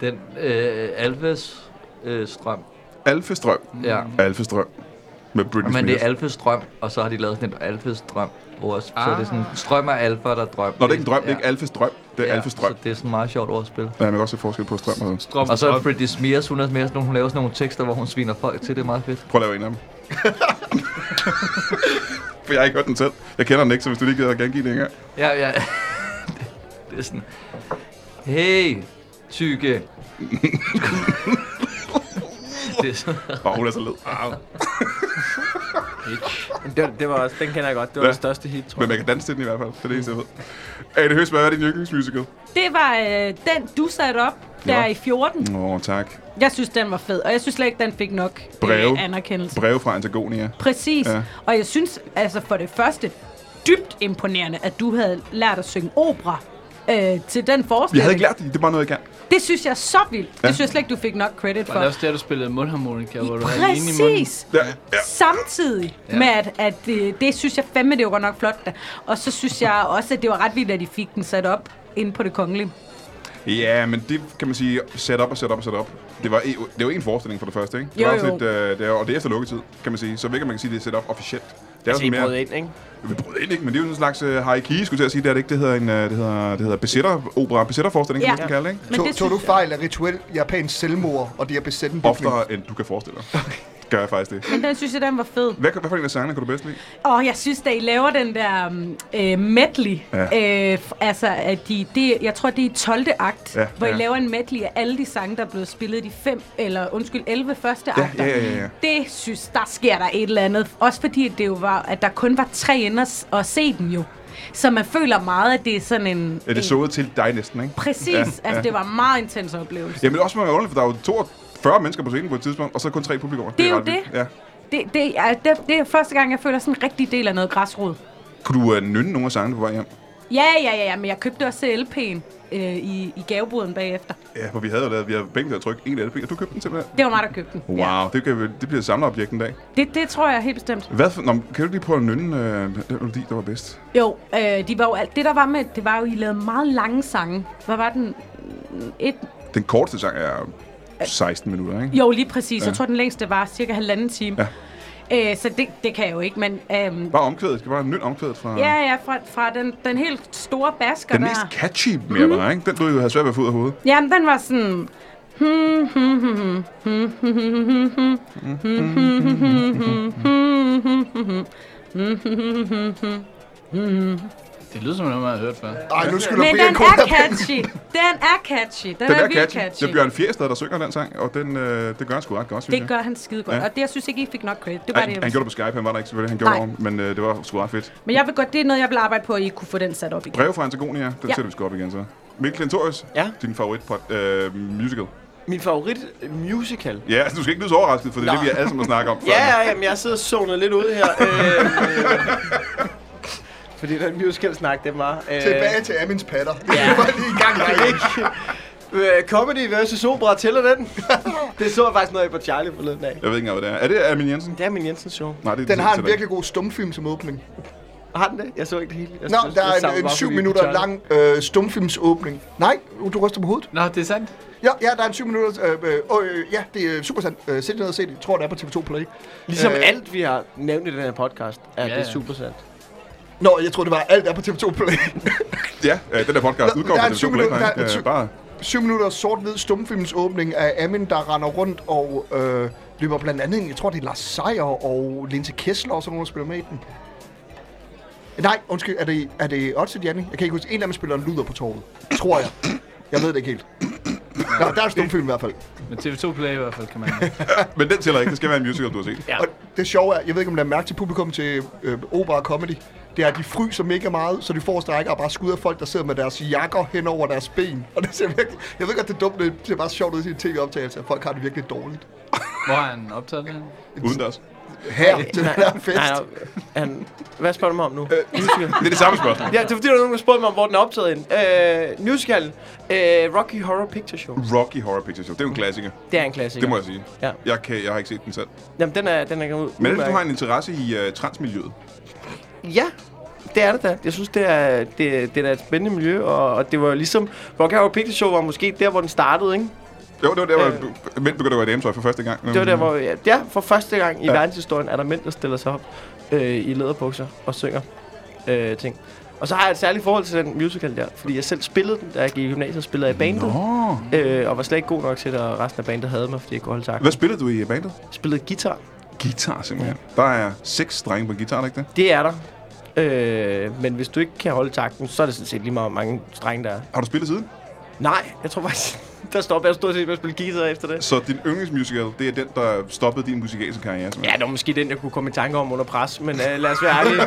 Speaker 7: til
Speaker 3: Den øh, Alves øh, strøm.
Speaker 1: Alfestrøm.
Speaker 3: Ja.
Speaker 1: Alfestrøm. Med Mm. Britney
Speaker 3: Men det
Speaker 1: Spears.
Speaker 3: er Alfes drøm, og så har de lavet sådan en Alfes drøm. Ord. Så er det sådan, strøm er alfa, der er drøm.
Speaker 1: Nå, det er ikke en drøm. Det er ikke Alfes drøm. Det er Alfes drøm.
Speaker 3: Så det er sådan meget sjovt ordspil.
Speaker 1: Ja, man kan også se forskel på strøm og sådan.
Speaker 7: Drop,
Speaker 3: Og så er
Speaker 7: drop.
Speaker 3: Britney Spears, hun, er mere, sådan- hun laver sådan nogle tekster, hvor hun sviner folk til. Det er meget fedt.
Speaker 1: Prøv at lave en af dem. For jeg har ikke hørt den selv. Jeg kender den ikke, så hvis du lige gider at gengive den engang.
Speaker 3: Ja, ja. det er sådan... Hey, tykke. det er sådan...
Speaker 1: Åh, hun er så led. Au.
Speaker 2: Men Det, det var også, den kender jeg godt. Det var
Speaker 1: Ja.
Speaker 2: ja. det største hit, tror
Speaker 1: Men
Speaker 2: jeg.
Speaker 1: man kan danse til den i hvert fald. Det er det eneste, jeg ved. Ane Høst, hvad er din yndlingsmusical?
Speaker 6: Det var øh, den, du satte op der
Speaker 1: Nå.
Speaker 6: i 14.
Speaker 1: Åh, oh, tak.
Speaker 6: Jeg synes, den var fed, og jeg synes slet ikke, den fik nok øh,
Speaker 1: Breve.
Speaker 6: anerkendelse.
Speaker 1: Breve fra Antagonia.
Speaker 6: Præcis.
Speaker 1: Ja.
Speaker 6: Ja. Og jeg synes, altså for det første, dybt imponerende, at du havde lært at synge opera øh, til den
Speaker 1: Jeg
Speaker 6: forestilling.
Speaker 1: havde ikke lært det. Det er bare noget, jeg kan.
Speaker 6: Det synes jeg er så vildt. Ja.
Speaker 1: Ja.
Speaker 6: Det synes jeg slet ikke, du fik nok credit
Speaker 7: Og det
Speaker 6: for.
Speaker 7: er også der, du spillede mundharmonika, hvor du havde en i munden.
Speaker 6: Præcis.
Speaker 1: Ja, ja.
Speaker 6: Samtidig ja. med, at, at det, det synes jeg fandme, det var godt nok flot. Da. Og så synes jeg også, at det var ret vildt, at de fik den sat op inde på det kongelige.
Speaker 1: Ja, men det kan man sige, sæt op og sæt op og sæt op. Det var, e- det var en forestilling for det første, ikke? Det
Speaker 6: Jo,
Speaker 1: var også
Speaker 6: jo.
Speaker 1: Lidt, øh, det er, og det er efter lukketid, kan man sige. Så ikke, at man kan sige, det er sæt op officielt. Det er jo
Speaker 2: Altså, I
Speaker 1: sådan
Speaker 2: brød ind, ikke?
Speaker 1: Vi brød ind, ikke? Men det er jo sådan en slags øh, hierarki, skulle jeg til at sige. Det er det ikke. Det hedder en, øh, det hedder, det hedder besætter, opera, besætterforestilling,
Speaker 6: Ja.
Speaker 1: kan man kalde det, ikke?
Speaker 6: Men
Speaker 4: Tog,
Speaker 6: det
Speaker 4: tog du
Speaker 6: synes jeg-
Speaker 4: fejl af rituel japansk selvmord, og de har besat en bygning?
Speaker 1: Oftere, end du kan forestille dig. Gør jeg faktisk det.
Speaker 6: Men den synes jeg, den var fed.
Speaker 1: Hvad, hvad for en af sangene kunne du bedst lide?
Speaker 6: Og jeg synes, da I laver den der um, øh, medley,
Speaker 1: Ja.
Speaker 6: ja. øh, f- altså, at de, det, jeg tror, det er i 12. akt,
Speaker 1: Ja,
Speaker 6: ja, hvor
Speaker 1: ja.
Speaker 6: I laver en medley af alle de sange, der er blevet spillet i de fem, eller undskyld, 11 første
Speaker 1: Ja,
Speaker 6: akter.
Speaker 1: ja, ja, ja.
Speaker 6: Det synes, der sker der et eller andet. Også fordi at det jo var, at der kun var tre ender at se den jo. Så man føler meget, at det er sådan en...
Speaker 1: Er det
Speaker 6: en
Speaker 1: sået til dig næsten, ikke?
Speaker 6: Præcis,
Speaker 1: Ja,
Speaker 6: ja, altså
Speaker 1: ja.
Speaker 6: det var en meget intens oplevelse.
Speaker 1: Jamen også med underligt, for der er jo 42 mennesker på scenen på et tidspunkt, og så kun tre publikummer.
Speaker 6: Det er jo
Speaker 1: ret vildt.
Speaker 6: det.
Speaker 1: Ja.
Speaker 6: Det, det, er, det, det er første gang, jeg føler sådan en rigtig del af noget græsrod.
Speaker 1: Kunne du øh, nynne nogle af sangene på vej hjem?
Speaker 6: Ja, ja, ja, ja, men jeg købte også LP'en øh, i, i gaveboden bagefter.
Speaker 1: Ja, for vi havde jo lavet, vi havde begge til at trykke en LP, og du købte den simpelthen.
Speaker 6: Det var mig, der købte den.
Speaker 1: Wow,
Speaker 6: Ja.
Speaker 1: ja. det, kan, vi- det bliver et samlerobjekt en dag.
Speaker 6: Det, det tror jeg helt bestemt.
Speaker 1: Hvad for, nå, men kan du lige prøve at nynne øh, den melodi, der var bedst?
Speaker 6: Jo, øh, de var jo, alt det der var med, det var jo, I lavede meget lange sange. Hvad var den? Et,
Speaker 1: Den korteste sang er
Speaker 6: Øh.
Speaker 1: 16 minutter, ikke?
Speaker 6: jo, lige præcis. Ja.
Speaker 1: Ja.
Speaker 6: Jeg tror, den længste var cirka halvanden time.
Speaker 1: Ja.
Speaker 6: Øh, så det, det kan jeg jo ikke, men... Øhm,
Speaker 1: Bare omkvædet, skal bare nynne omkvædet fra...
Speaker 6: ja, ja, fra, fra den, den helt store basker
Speaker 1: Den
Speaker 6: der.
Speaker 1: mest catchy mere bare, ikke? Den du jo havde svært ved at få ud af hovedet.
Speaker 6: Jamen, den var sådan...
Speaker 7: Det lyder som noget, man har hørt før.
Speaker 4: Ej, nu skulle
Speaker 6: Men
Speaker 4: der blive
Speaker 6: den
Speaker 4: en kort
Speaker 6: er catchy. Den er catchy. Den,
Speaker 1: Den er
Speaker 6: vildt
Speaker 1: catchy.
Speaker 6: catchy.
Speaker 1: Det er Bjørn Fjestad, der synger den sang, og den, øh, det gør han sgu ret godt, synes
Speaker 6: Det
Speaker 1: jeg.
Speaker 6: gør han skide godt.
Speaker 1: Ja.
Speaker 6: Ja. Og det, jeg synes ikke, I fik nok credit. Det
Speaker 1: Ej,
Speaker 6: var det, jeg
Speaker 1: han,
Speaker 6: ville
Speaker 1: han gjorde
Speaker 6: sige.
Speaker 1: det på Skype, han var der ikke selvfølgelig, han gjorde
Speaker 6: Nej.
Speaker 1: det, men øh, det var sgu ret fedt.
Speaker 6: Men jeg vil godt, det er noget, jeg vil arbejde på, at I kunne få den sat op igen.
Speaker 1: Brev fra Antagonia, den
Speaker 6: Ja.
Speaker 1: sætter vi sgu op igen så. Mikkel Klintorius,
Speaker 2: Ja.
Speaker 1: din favorit pod, øh, musical.
Speaker 2: Min favorit øh, musical.
Speaker 1: Ja, altså, du skal ikke lyde så overrasket, for det er
Speaker 2: Nå.
Speaker 1: det, vi alle sammen snakker om. før.
Speaker 2: Ja, ja, jamen, jeg sidder og zoner lidt ud her. Øh, øh, fordi den musical-snak, den var... Øh,
Speaker 4: Tilbage til Amins patter. Det var lige i gang.
Speaker 2: Nej, ikke. Øh, Comedy versus opera, tæller den? det så jeg faktisk noget af på Charlie forleden dag.
Speaker 1: Jeg ved ikke engang, hvad det er. Er det Armin Jensen?
Speaker 2: Det er min Jensens show.
Speaker 1: Nej, det er
Speaker 4: Den har
Speaker 1: til
Speaker 4: en
Speaker 1: dig.
Speaker 4: virkelig god stumfilm som åbning.
Speaker 2: Har den det? Jeg så ikke det hele. Jeg
Speaker 4: Nå,
Speaker 2: synes,
Speaker 4: der
Speaker 2: jeg
Speaker 4: er
Speaker 2: savner
Speaker 4: en, en
Speaker 2: bare
Speaker 4: syv
Speaker 2: fordi-
Speaker 4: minutter lang øh, stumfilmsåbning. Nej, du ryster på hovedet.
Speaker 7: Nå, det er sandt.
Speaker 4: Ja, ja, der er en syv minutter. Øh, øh, øh, ja, det er super sandt. Øh, sæt dig ned og se det. Jeg tror, det er på TV2 Play.
Speaker 2: Ligesom
Speaker 4: Øh,
Speaker 2: alt, vi har nævnt i den her podcast, er
Speaker 7: Ja,
Speaker 2: det
Speaker 7: ja.
Speaker 2: super sandt.
Speaker 4: Nå, jeg tror det var alt er på TV2 Play.
Speaker 1: Ja, øh, den der podcast
Speaker 4: Der-
Speaker 1: udkommer
Speaker 4: der er
Speaker 1: på TV2 Play.
Speaker 4: en psykolog-
Speaker 1: nej,
Speaker 4: der er en
Speaker 1: øh,
Speaker 4: psy-
Speaker 1: Bare
Speaker 4: syv minutter sort-hvid stumfilms åbning af Amin, der render rundt og øh, løber blandt andet ind. Jeg tror, det er Lars Seier og Linse Kessler og sådan nogen, der spiller med i den. Nej, undskyld, er det, er det Otze Gianni? Jeg kan ikke huske, en af dem spiller en luder på torvet. Tror jeg. Jeg ved det ikke helt. Nå, der er en stumfilm i hvert fald.
Speaker 7: Men TV2 Play i hvert fald kan man.
Speaker 1: Men den tæller ikke. Det skal være en musical, du har set.
Speaker 4: Og det sjove er, jeg ved ikke, om der er mærke til publikum til øh, opera og comedy, det er, at de fryser mega meget, så de forreste rækker er bare skud af folk, der sidder med deres jakker hen over deres ben. Og det ser virkelig... Jeg ved godt, det er dumt, men det ser bare sjovt ud i en tv-optagelse, at folk har det virkelig dårligt.
Speaker 7: Hvor har han optaget det?
Speaker 1: Uden deres.
Speaker 4: Her til den her fest.
Speaker 2: Nej, nej, han, hvad spørger du mig om nu?
Speaker 4: Øh,
Speaker 2: Musical.
Speaker 1: Det er det samme spørgsmål.
Speaker 2: Ja, det er fordi, der er nogen, der spurgte mig om, hvor den er optaget ind. Øh, musicalen. Øh, Rocky Horror Picture Show.
Speaker 1: Rocky Horror Picture Show. Det er jo en klassiker.
Speaker 2: Mm. Det er en klassiker.
Speaker 1: Det må jeg sige.
Speaker 2: Ja.
Speaker 1: Jeg, kan, jeg har ikke set den selv.
Speaker 2: Jamen, den er, den er ud.
Speaker 1: Men er det, du har en interesse i øh, transmiljøet?
Speaker 2: Ja, det er det da. Jeg synes, det er, det, det er da et spændende miljø, og, og det var jo ligesom... Rocky Horror Picture Show var måske der, hvor den startede, ikke?
Speaker 1: Jo, det var der, hvor
Speaker 2: Øh.
Speaker 1: øh. mænd begyndte at gå i dametøj for første gang.
Speaker 2: Det var der, hvor... Ja, ja, for første gang i ja. verdenshistorien er der mænd, der stiller sig op øh, i læderbukser og synger øh, ting. Og så har jeg et særligt forhold til den musical der, fordi jeg selv spillede den, da jeg gik i gymnasiet, spillede jeg i bandet.
Speaker 1: Åh.
Speaker 2: Øh, og var slet ikke god nok til det, og resten af bandet havde mig, fordi jeg kunne holde tak.
Speaker 1: Hvad spillede du i øh, bandet?
Speaker 2: Spillede guitar.
Speaker 1: Guitar, simpelthen. Der er seks drenge på en guitar, er der ikke det?
Speaker 2: Det er der. Øh, men hvis du ikke kan holde takten, så er det sådan set lige meget, hvor mange strenge der er.
Speaker 1: Har du spillet siden?
Speaker 2: Nej, jeg tror faktisk, der stopper jeg stort set med at spille guitar efter det.
Speaker 1: Så din yndlingsmusical, det er den, der stoppede din musikalske karriere?
Speaker 2: Ja,
Speaker 1: simpelthen.
Speaker 2: det var måske den, jeg kunne komme i tanke om under pres, men øh, lad os være ærlige.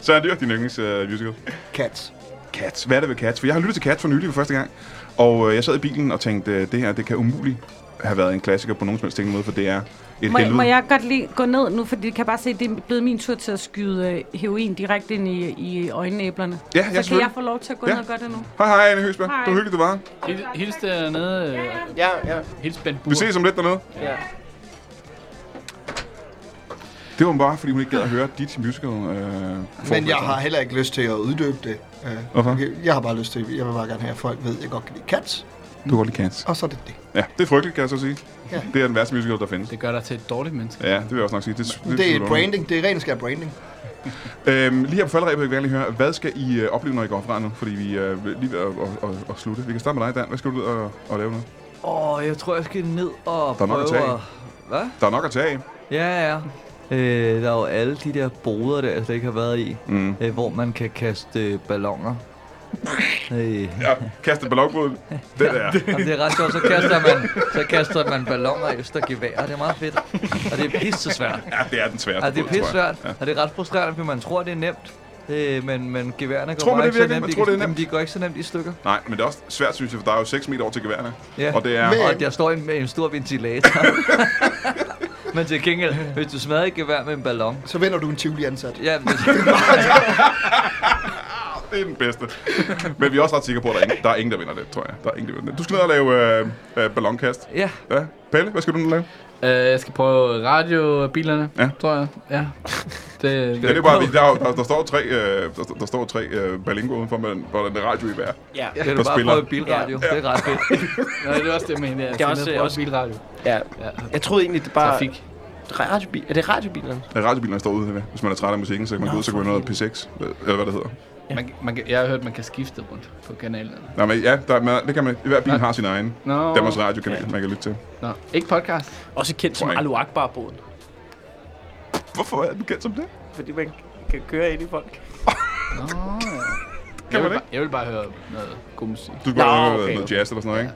Speaker 1: Så er det din yndlingsmusical?
Speaker 4: Cats.
Speaker 1: Cats. Hvad er det ved Cats? For jeg har lyttet til Cats for nylig for første gang, og øh, jeg sad i bilen og tænkte, øh, det her, det kan umuligt have været en klassiker på nogen som helst tænkende måde, for det er et
Speaker 6: Må, jeg-
Speaker 1: helvede.
Speaker 6: må jeg godt lige gå ned nu, fordi jeg kan bare se, at det er blevet min tur til at skyde øh, heroin direkte ind i, i øjenæblerne.
Speaker 1: Ja, ja,
Speaker 6: Så kan jeg
Speaker 1: selvfølgelig.
Speaker 6: få lov til at gå
Speaker 1: Ja.
Speaker 6: ned og gøre det nu?
Speaker 1: Hej, hej, Anne Høsberg.
Speaker 6: Hej.
Speaker 1: Det var hyggeligt, du var. her.
Speaker 7: Hils, hils dernede. øh,
Speaker 2: ja, ja,
Speaker 7: Hils Ben Bur.
Speaker 1: Vi ses om lidt dernede.
Speaker 2: ja.
Speaker 1: Det var bare, fordi hun ikke gad at høre dit musical. Øh,
Speaker 4: Men
Speaker 1: forberedelse.
Speaker 4: jeg har heller ikke lyst til at uddybe det. Øh,
Speaker 1: Hvorfor?
Speaker 4: okay, Jeg har bare lyst til, jeg vil bare gerne have, at folk ved, at jeg godt kan lide Cats.
Speaker 1: Du kan godt lide Cats.
Speaker 4: Og så er det det.
Speaker 1: Ja, det er frygteligt, kan jeg så sige.
Speaker 4: Ja.
Speaker 1: Det er den værste musical, der findes.
Speaker 7: Det gør dig til et dårligt menneske.
Speaker 1: Ja, det vil jeg også nok sige. Det,
Speaker 4: Det er
Speaker 1: slutter
Speaker 4: branding. Det er rent skær branding.
Speaker 1: Øhm, lige her på faldrebet vil jeg gerne lige høre, hvad skal I øh, opleve, når I går fra nu? Fordi vi er øh, lige ved at, at, at, at, slutte. Vi kan starte med dig, Dan. Hvad skal du ud og, og lave nu?
Speaker 3: Åh, oh, jeg tror, jeg skal ned og
Speaker 1: Der er nok at
Speaker 3: prøve
Speaker 1: tage af.
Speaker 3: at... Hvad?
Speaker 1: Der er nok at tage af.
Speaker 3: Ja, ja. Øh, der er jo alle de der boder, der jeg slet ikke har været i,
Speaker 1: Mm.
Speaker 3: øh, hvor man kan kaste øh, ballonger. Øh.
Speaker 1: Ja, kaste ballonbåden. Det der.
Speaker 3: Jamen, det er ret sjovt, så kaster man, så kaster man balloner efter gevær, det er meget fedt. Og det er pisse svært.
Speaker 1: Ja, det er den sværeste
Speaker 3: Altså, det er
Speaker 1: båd, tror
Speaker 3: pisse
Speaker 1: jeg.
Speaker 3: svært, og det er ret frustrerende, fordi man tror, det er nemt. Øh, men, men geværerne går
Speaker 1: Tror man
Speaker 3: bare
Speaker 1: det
Speaker 3: ikke så
Speaker 1: virkelig?
Speaker 3: nemt.
Speaker 1: Man
Speaker 3: i-
Speaker 1: tror, det er
Speaker 3: jamen,
Speaker 1: nemt?
Speaker 3: De går ikke så nemt i stykker.
Speaker 1: Nej, men det er også svært, synes jeg, for der er jo 6 meter over til geværerne.
Speaker 3: Ja.
Speaker 1: Og det er...
Speaker 4: Men-
Speaker 3: Og der står en, med en stor ventilator. men til gengæld, hvis du smadrer et gevær med en ballon,
Speaker 4: Så vender du en tivoli ansat.
Speaker 3: Ja, men,
Speaker 1: Det er den bedste. Men vi er også ret sikre på, at der er, ingen, der er ingen, der vinder det, tror jeg. Der er ingen, der vinder det. Du skal ned og lave øh, øh, ballonkast.
Speaker 3: ja,
Speaker 1: Ja. Pelle, hvad skal du nu lave?
Speaker 7: Øh, jeg skal prøve radiobilerne,
Speaker 1: Ja.
Speaker 7: tror jeg. Ja. Det,
Speaker 1: Ja, det er bare, vi- der, er jo- der, der, står tre, øh, der, der står tre øh, ballingo udenfor med den, hvor den er radio i hver.
Speaker 2: ja.
Speaker 3: det
Speaker 1: Der
Speaker 3: kan du bare
Speaker 1: spiller.
Speaker 3: prøve bilradio. Ja. Det er ret fedt.
Speaker 7: nej, det er også det, med hende der.
Speaker 2: Det er også-
Speaker 7: prøve
Speaker 2: også-
Speaker 7: bilradio.
Speaker 2: ja.
Speaker 7: Ja.
Speaker 2: Jeg troede egentlig, det bare...
Speaker 7: Trafik.
Speaker 2: Radiobil. Er det radiobilerne?
Speaker 1: Ja, radiobilerne står ude ved. Hvis man er træt af musikken, så kan man gå ud, så kan man noget P6, eller hvad det hedder.
Speaker 7: Man, kan- man, kan- jeg har hørt, man kan skifte rundt på kanalen.
Speaker 1: Nej, men ja, der, er- man, det kan man, hver bil har sin egen
Speaker 7: Nå.
Speaker 1: Danmarks radiokanal, man kan lytte til.
Speaker 7: Nå, ikke podcast.
Speaker 2: Også kendt som
Speaker 1: Poeng.
Speaker 2: Alu Akbar-båden.
Speaker 1: Hvorfor er den kendt som det?
Speaker 2: Fordi man kan køre ind i folk.
Speaker 7: Nå,
Speaker 1: Kan
Speaker 7: jeg,
Speaker 1: man
Speaker 7: vil bare,
Speaker 1: ikke?
Speaker 7: jeg vil bare høre noget god musik.
Speaker 1: Du går
Speaker 2: Nå,
Speaker 1: Nå, okay.
Speaker 2: okay.
Speaker 1: noget jazz eller sådan noget, ikke?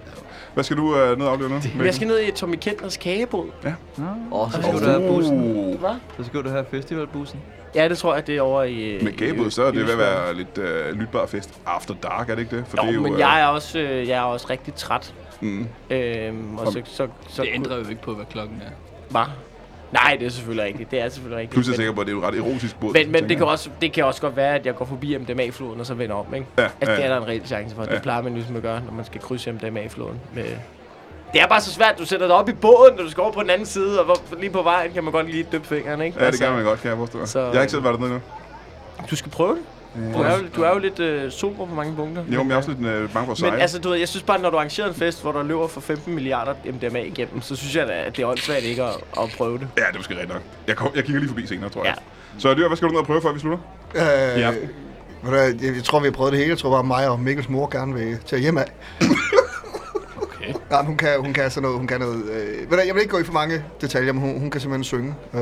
Speaker 1: Hvad skal du øh, ned og opleve nu?
Speaker 2: Men jeg skal ned i Tommy Kentners kagebåd.
Speaker 3: Åh, oh, så
Speaker 1: Mikkel?
Speaker 3: skulle du have bussen.
Speaker 1: Uh,
Speaker 3: Så skulle du have festivalbussen.
Speaker 2: Ja, det tror jeg, det er over i...
Speaker 1: Med Gabel, så er det ved at være lidt øh, lytbar fest. After Dark, er det ikke det? For
Speaker 2: Jo,
Speaker 1: det er jo,
Speaker 2: men jeg er også, øh, jeg er også rigtig træt.
Speaker 1: Mm.
Speaker 2: Øhm, og så, så, så,
Speaker 7: Det ændrer jo ikke på, hvad klokken er.
Speaker 2: Hva? Nej, det er selvfølgelig rigtigt. Det er selvfølgelig rigtigt.
Speaker 1: Plus er jeg
Speaker 2: Men-
Speaker 1: sikker på, at det er jo et ret erotisk båd.
Speaker 2: Men, men det,
Speaker 1: tænker
Speaker 2: kan også, det kan også godt være, at jeg går forbi MDMA-floden og så vender om, ikke?
Speaker 1: Ja,
Speaker 2: altså,
Speaker 1: ja.
Speaker 2: det er der en reel chance for. Ja.
Speaker 1: Ja.
Speaker 2: Det plejer man ligesom at gøre, når man skal krydse MDMA-floden. Med... Det er bare så svært, du sætter dig op i båden, når du skal over på den anden side, og hvor, lige på vejen kan man godt lige dyppe fingeren, ikke?
Speaker 1: jeg. Ja, det kan man godt, kan jeg forstå.
Speaker 2: Så-
Speaker 1: Jeg har ikke selv været dernede endnu.
Speaker 2: godt. Du skal prøve det. Du er jo, du er jo lidt øh, sober på mange punkter.
Speaker 1: Jo, men jeg er også lidt øh, bange for at
Speaker 2: Men
Speaker 1: sejle.
Speaker 2: altså, du ved, jeg synes bare, når du arrangerer en fest, hvor der løber for 15 milliarder MDMA igennem, så synes jeg da, at det er åndssvagt ikke at, at prøve det.
Speaker 1: Ja, det er måske rigtigt nok. Jeg, kom, jeg kigger lige forbi senere, tror jeg.
Speaker 2: Ja.
Speaker 1: Så Dyr, hvad skal du ned og prøve, før vi slutter?
Speaker 4: Øh,
Speaker 1: Ja.
Speaker 4: ja. Jeg, jeg tror, vi har prøvet det hele. Jeg tror bare, mig og Mikkels mor gerne vil tage hjem af. okay. Nej, men hun kan, hun kan sådan noget. Hun kan noget øh, ved du, jeg vil ikke gå i for mange detaljer, men hun, hun kan simpelthen synge øh,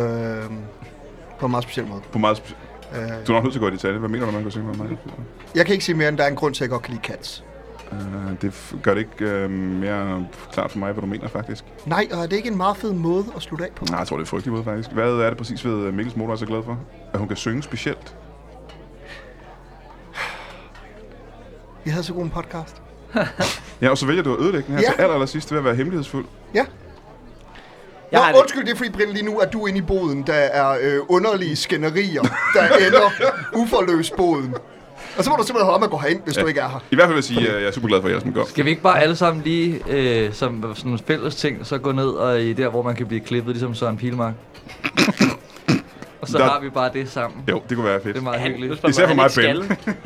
Speaker 4: på en meget speciel måde.
Speaker 1: På meget sp-
Speaker 4: Øh,
Speaker 1: du er nok nødt til at gå i detalje. Hvad mener du, man kan synge med mig?
Speaker 4: jeg kan ikke sige mere, end der er en grund til, at jeg godt kan lide Cats.
Speaker 1: Uh, det f- gør det ikke øh, mere klart for mig, hvad du mener, faktisk.
Speaker 4: Nej, og er det ikke en meget fed måde at slutte af på?
Speaker 1: Nej, jeg tror, det er frygtelig måde, faktisk. Hvad er det præcis ved øh, Mikkels mor, der er så glad for? At hun kan synge specielt?
Speaker 4: Vi havde så god en podcast.
Speaker 1: Ja, og så vælger du at ødelægge den her
Speaker 4: Ja.
Speaker 1: til aller, aller sidst ved at være hemmelighedsfuld.
Speaker 4: Ja.
Speaker 2: Jeg
Speaker 4: Jeg
Speaker 2: har
Speaker 4: Nå,
Speaker 2: det.
Speaker 4: undskyld, det er fordi, Brind, lige nu er du inde i boden. Der er øh, underlige skænderier, der ender uforløs boden. Og så må du simpelthen holde med at gå herind, hvis ja. du ikke er her.
Speaker 1: I hvert fald vil jeg sige, at jeg er super glad for, at I alle sammen går.
Speaker 3: Skal vi ikke bare alle sammen lige, øh, som sådan en fælles ting, så gå ned og i der, hvor man kan blive klippet, ligesom Søren Pilmark? og så
Speaker 1: Der-
Speaker 3: har vi bare det sammen.
Speaker 1: Jo, det kunne være fedt.
Speaker 3: Det er meget
Speaker 2: Han- nu
Speaker 3: hyggeligt.
Speaker 2: spørger
Speaker 1: Især
Speaker 2: man,
Speaker 1: for
Speaker 2: er han
Speaker 1: mig,
Speaker 2: ikke skaldet?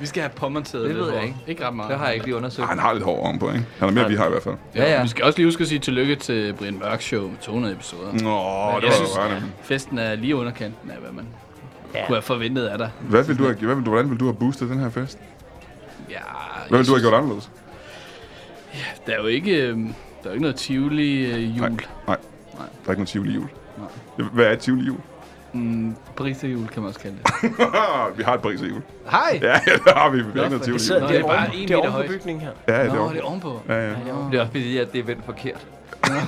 Speaker 7: Vi skal have påmonteret
Speaker 3: Det ved
Speaker 7: lidt
Speaker 3: jeg
Speaker 7: hår. Ikke ret meget.
Speaker 3: Det har jeg ikke lige undersøgt.
Speaker 1: Ej, han har lidt hår ovenpå, ikke? Han er mere, end vi har i hvert fald.
Speaker 3: Ja, ja.
Speaker 7: Vi skal også lige huske at sige tillykke til Brian Mørk Show med 200 episoder.
Speaker 1: Nå,
Speaker 7: Mm.
Speaker 1: det
Speaker 7: jeg
Speaker 1: var
Speaker 7: synes-
Speaker 1: jo rørende.
Speaker 7: Festen er lige under kanten af, hvad man
Speaker 2: Ja.
Speaker 7: kunne have forventet af dig.
Speaker 1: Hvad vil du have, hvad vil du, hvordan vil du have boostet den her fest? Hvad
Speaker 7: Ja, jeg
Speaker 1: vil du have
Speaker 7: synes-
Speaker 1: gjort anderledes?
Speaker 7: Der er jo ikke, øh, der er jo ikke noget Tivoli øh, jul.
Speaker 1: Nej, nej.
Speaker 7: Nej.
Speaker 1: Der er ikke noget tivoli jul.
Speaker 7: Nej.
Speaker 1: Hvad er et tivoli jul?
Speaker 7: Mm, Paris jul kan man også kalde det.
Speaker 1: vi har et pris i jul.
Speaker 5: Hej!
Speaker 1: Ja, ja, det har vi. Vi
Speaker 7: også
Speaker 1: har noget
Speaker 7: fordi-
Speaker 1: tivoli.
Speaker 2: Så
Speaker 7: Nå,
Speaker 2: det er
Speaker 7: det er bare
Speaker 2: oven-
Speaker 7: en
Speaker 2: det er
Speaker 7: meter
Speaker 2: oven på
Speaker 7: højt.
Speaker 2: bygningen her.
Speaker 1: Ja, det
Speaker 7: Nå,
Speaker 1: er
Speaker 7: det er ovenpå.
Speaker 1: Ja, ja.
Speaker 3: Det er også fordi, at det er vendt forkert.
Speaker 7: Ah,
Speaker 3: Det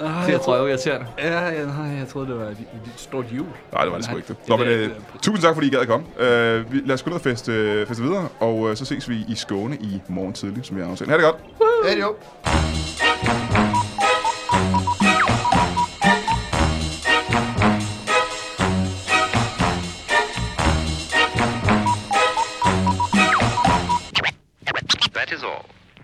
Speaker 7: jeg,
Speaker 3: jeg tror jeg er irriterende.
Speaker 7: ja, jeg, nej, jeg troede, det var et, et stort jul.
Speaker 1: Nej, det var det sgu
Speaker 7: Nej,
Speaker 1: ikke det.
Speaker 7: det
Speaker 1: Nå,
Speaker 7: er
Speaker 1: men,
Speaker 7: det
Speaker 1: øh,
Speaker 7: ikke, det
Speaker 1: tusind tak, fordi I gad at komme. Øh, vi, lad os gå ned og feste, øh, feste videre, og øh, så ses vi i Skåne i morgen tidlig, som vi har aftalt. Ha' det godt!
Speaker 4: Ja, det er jo.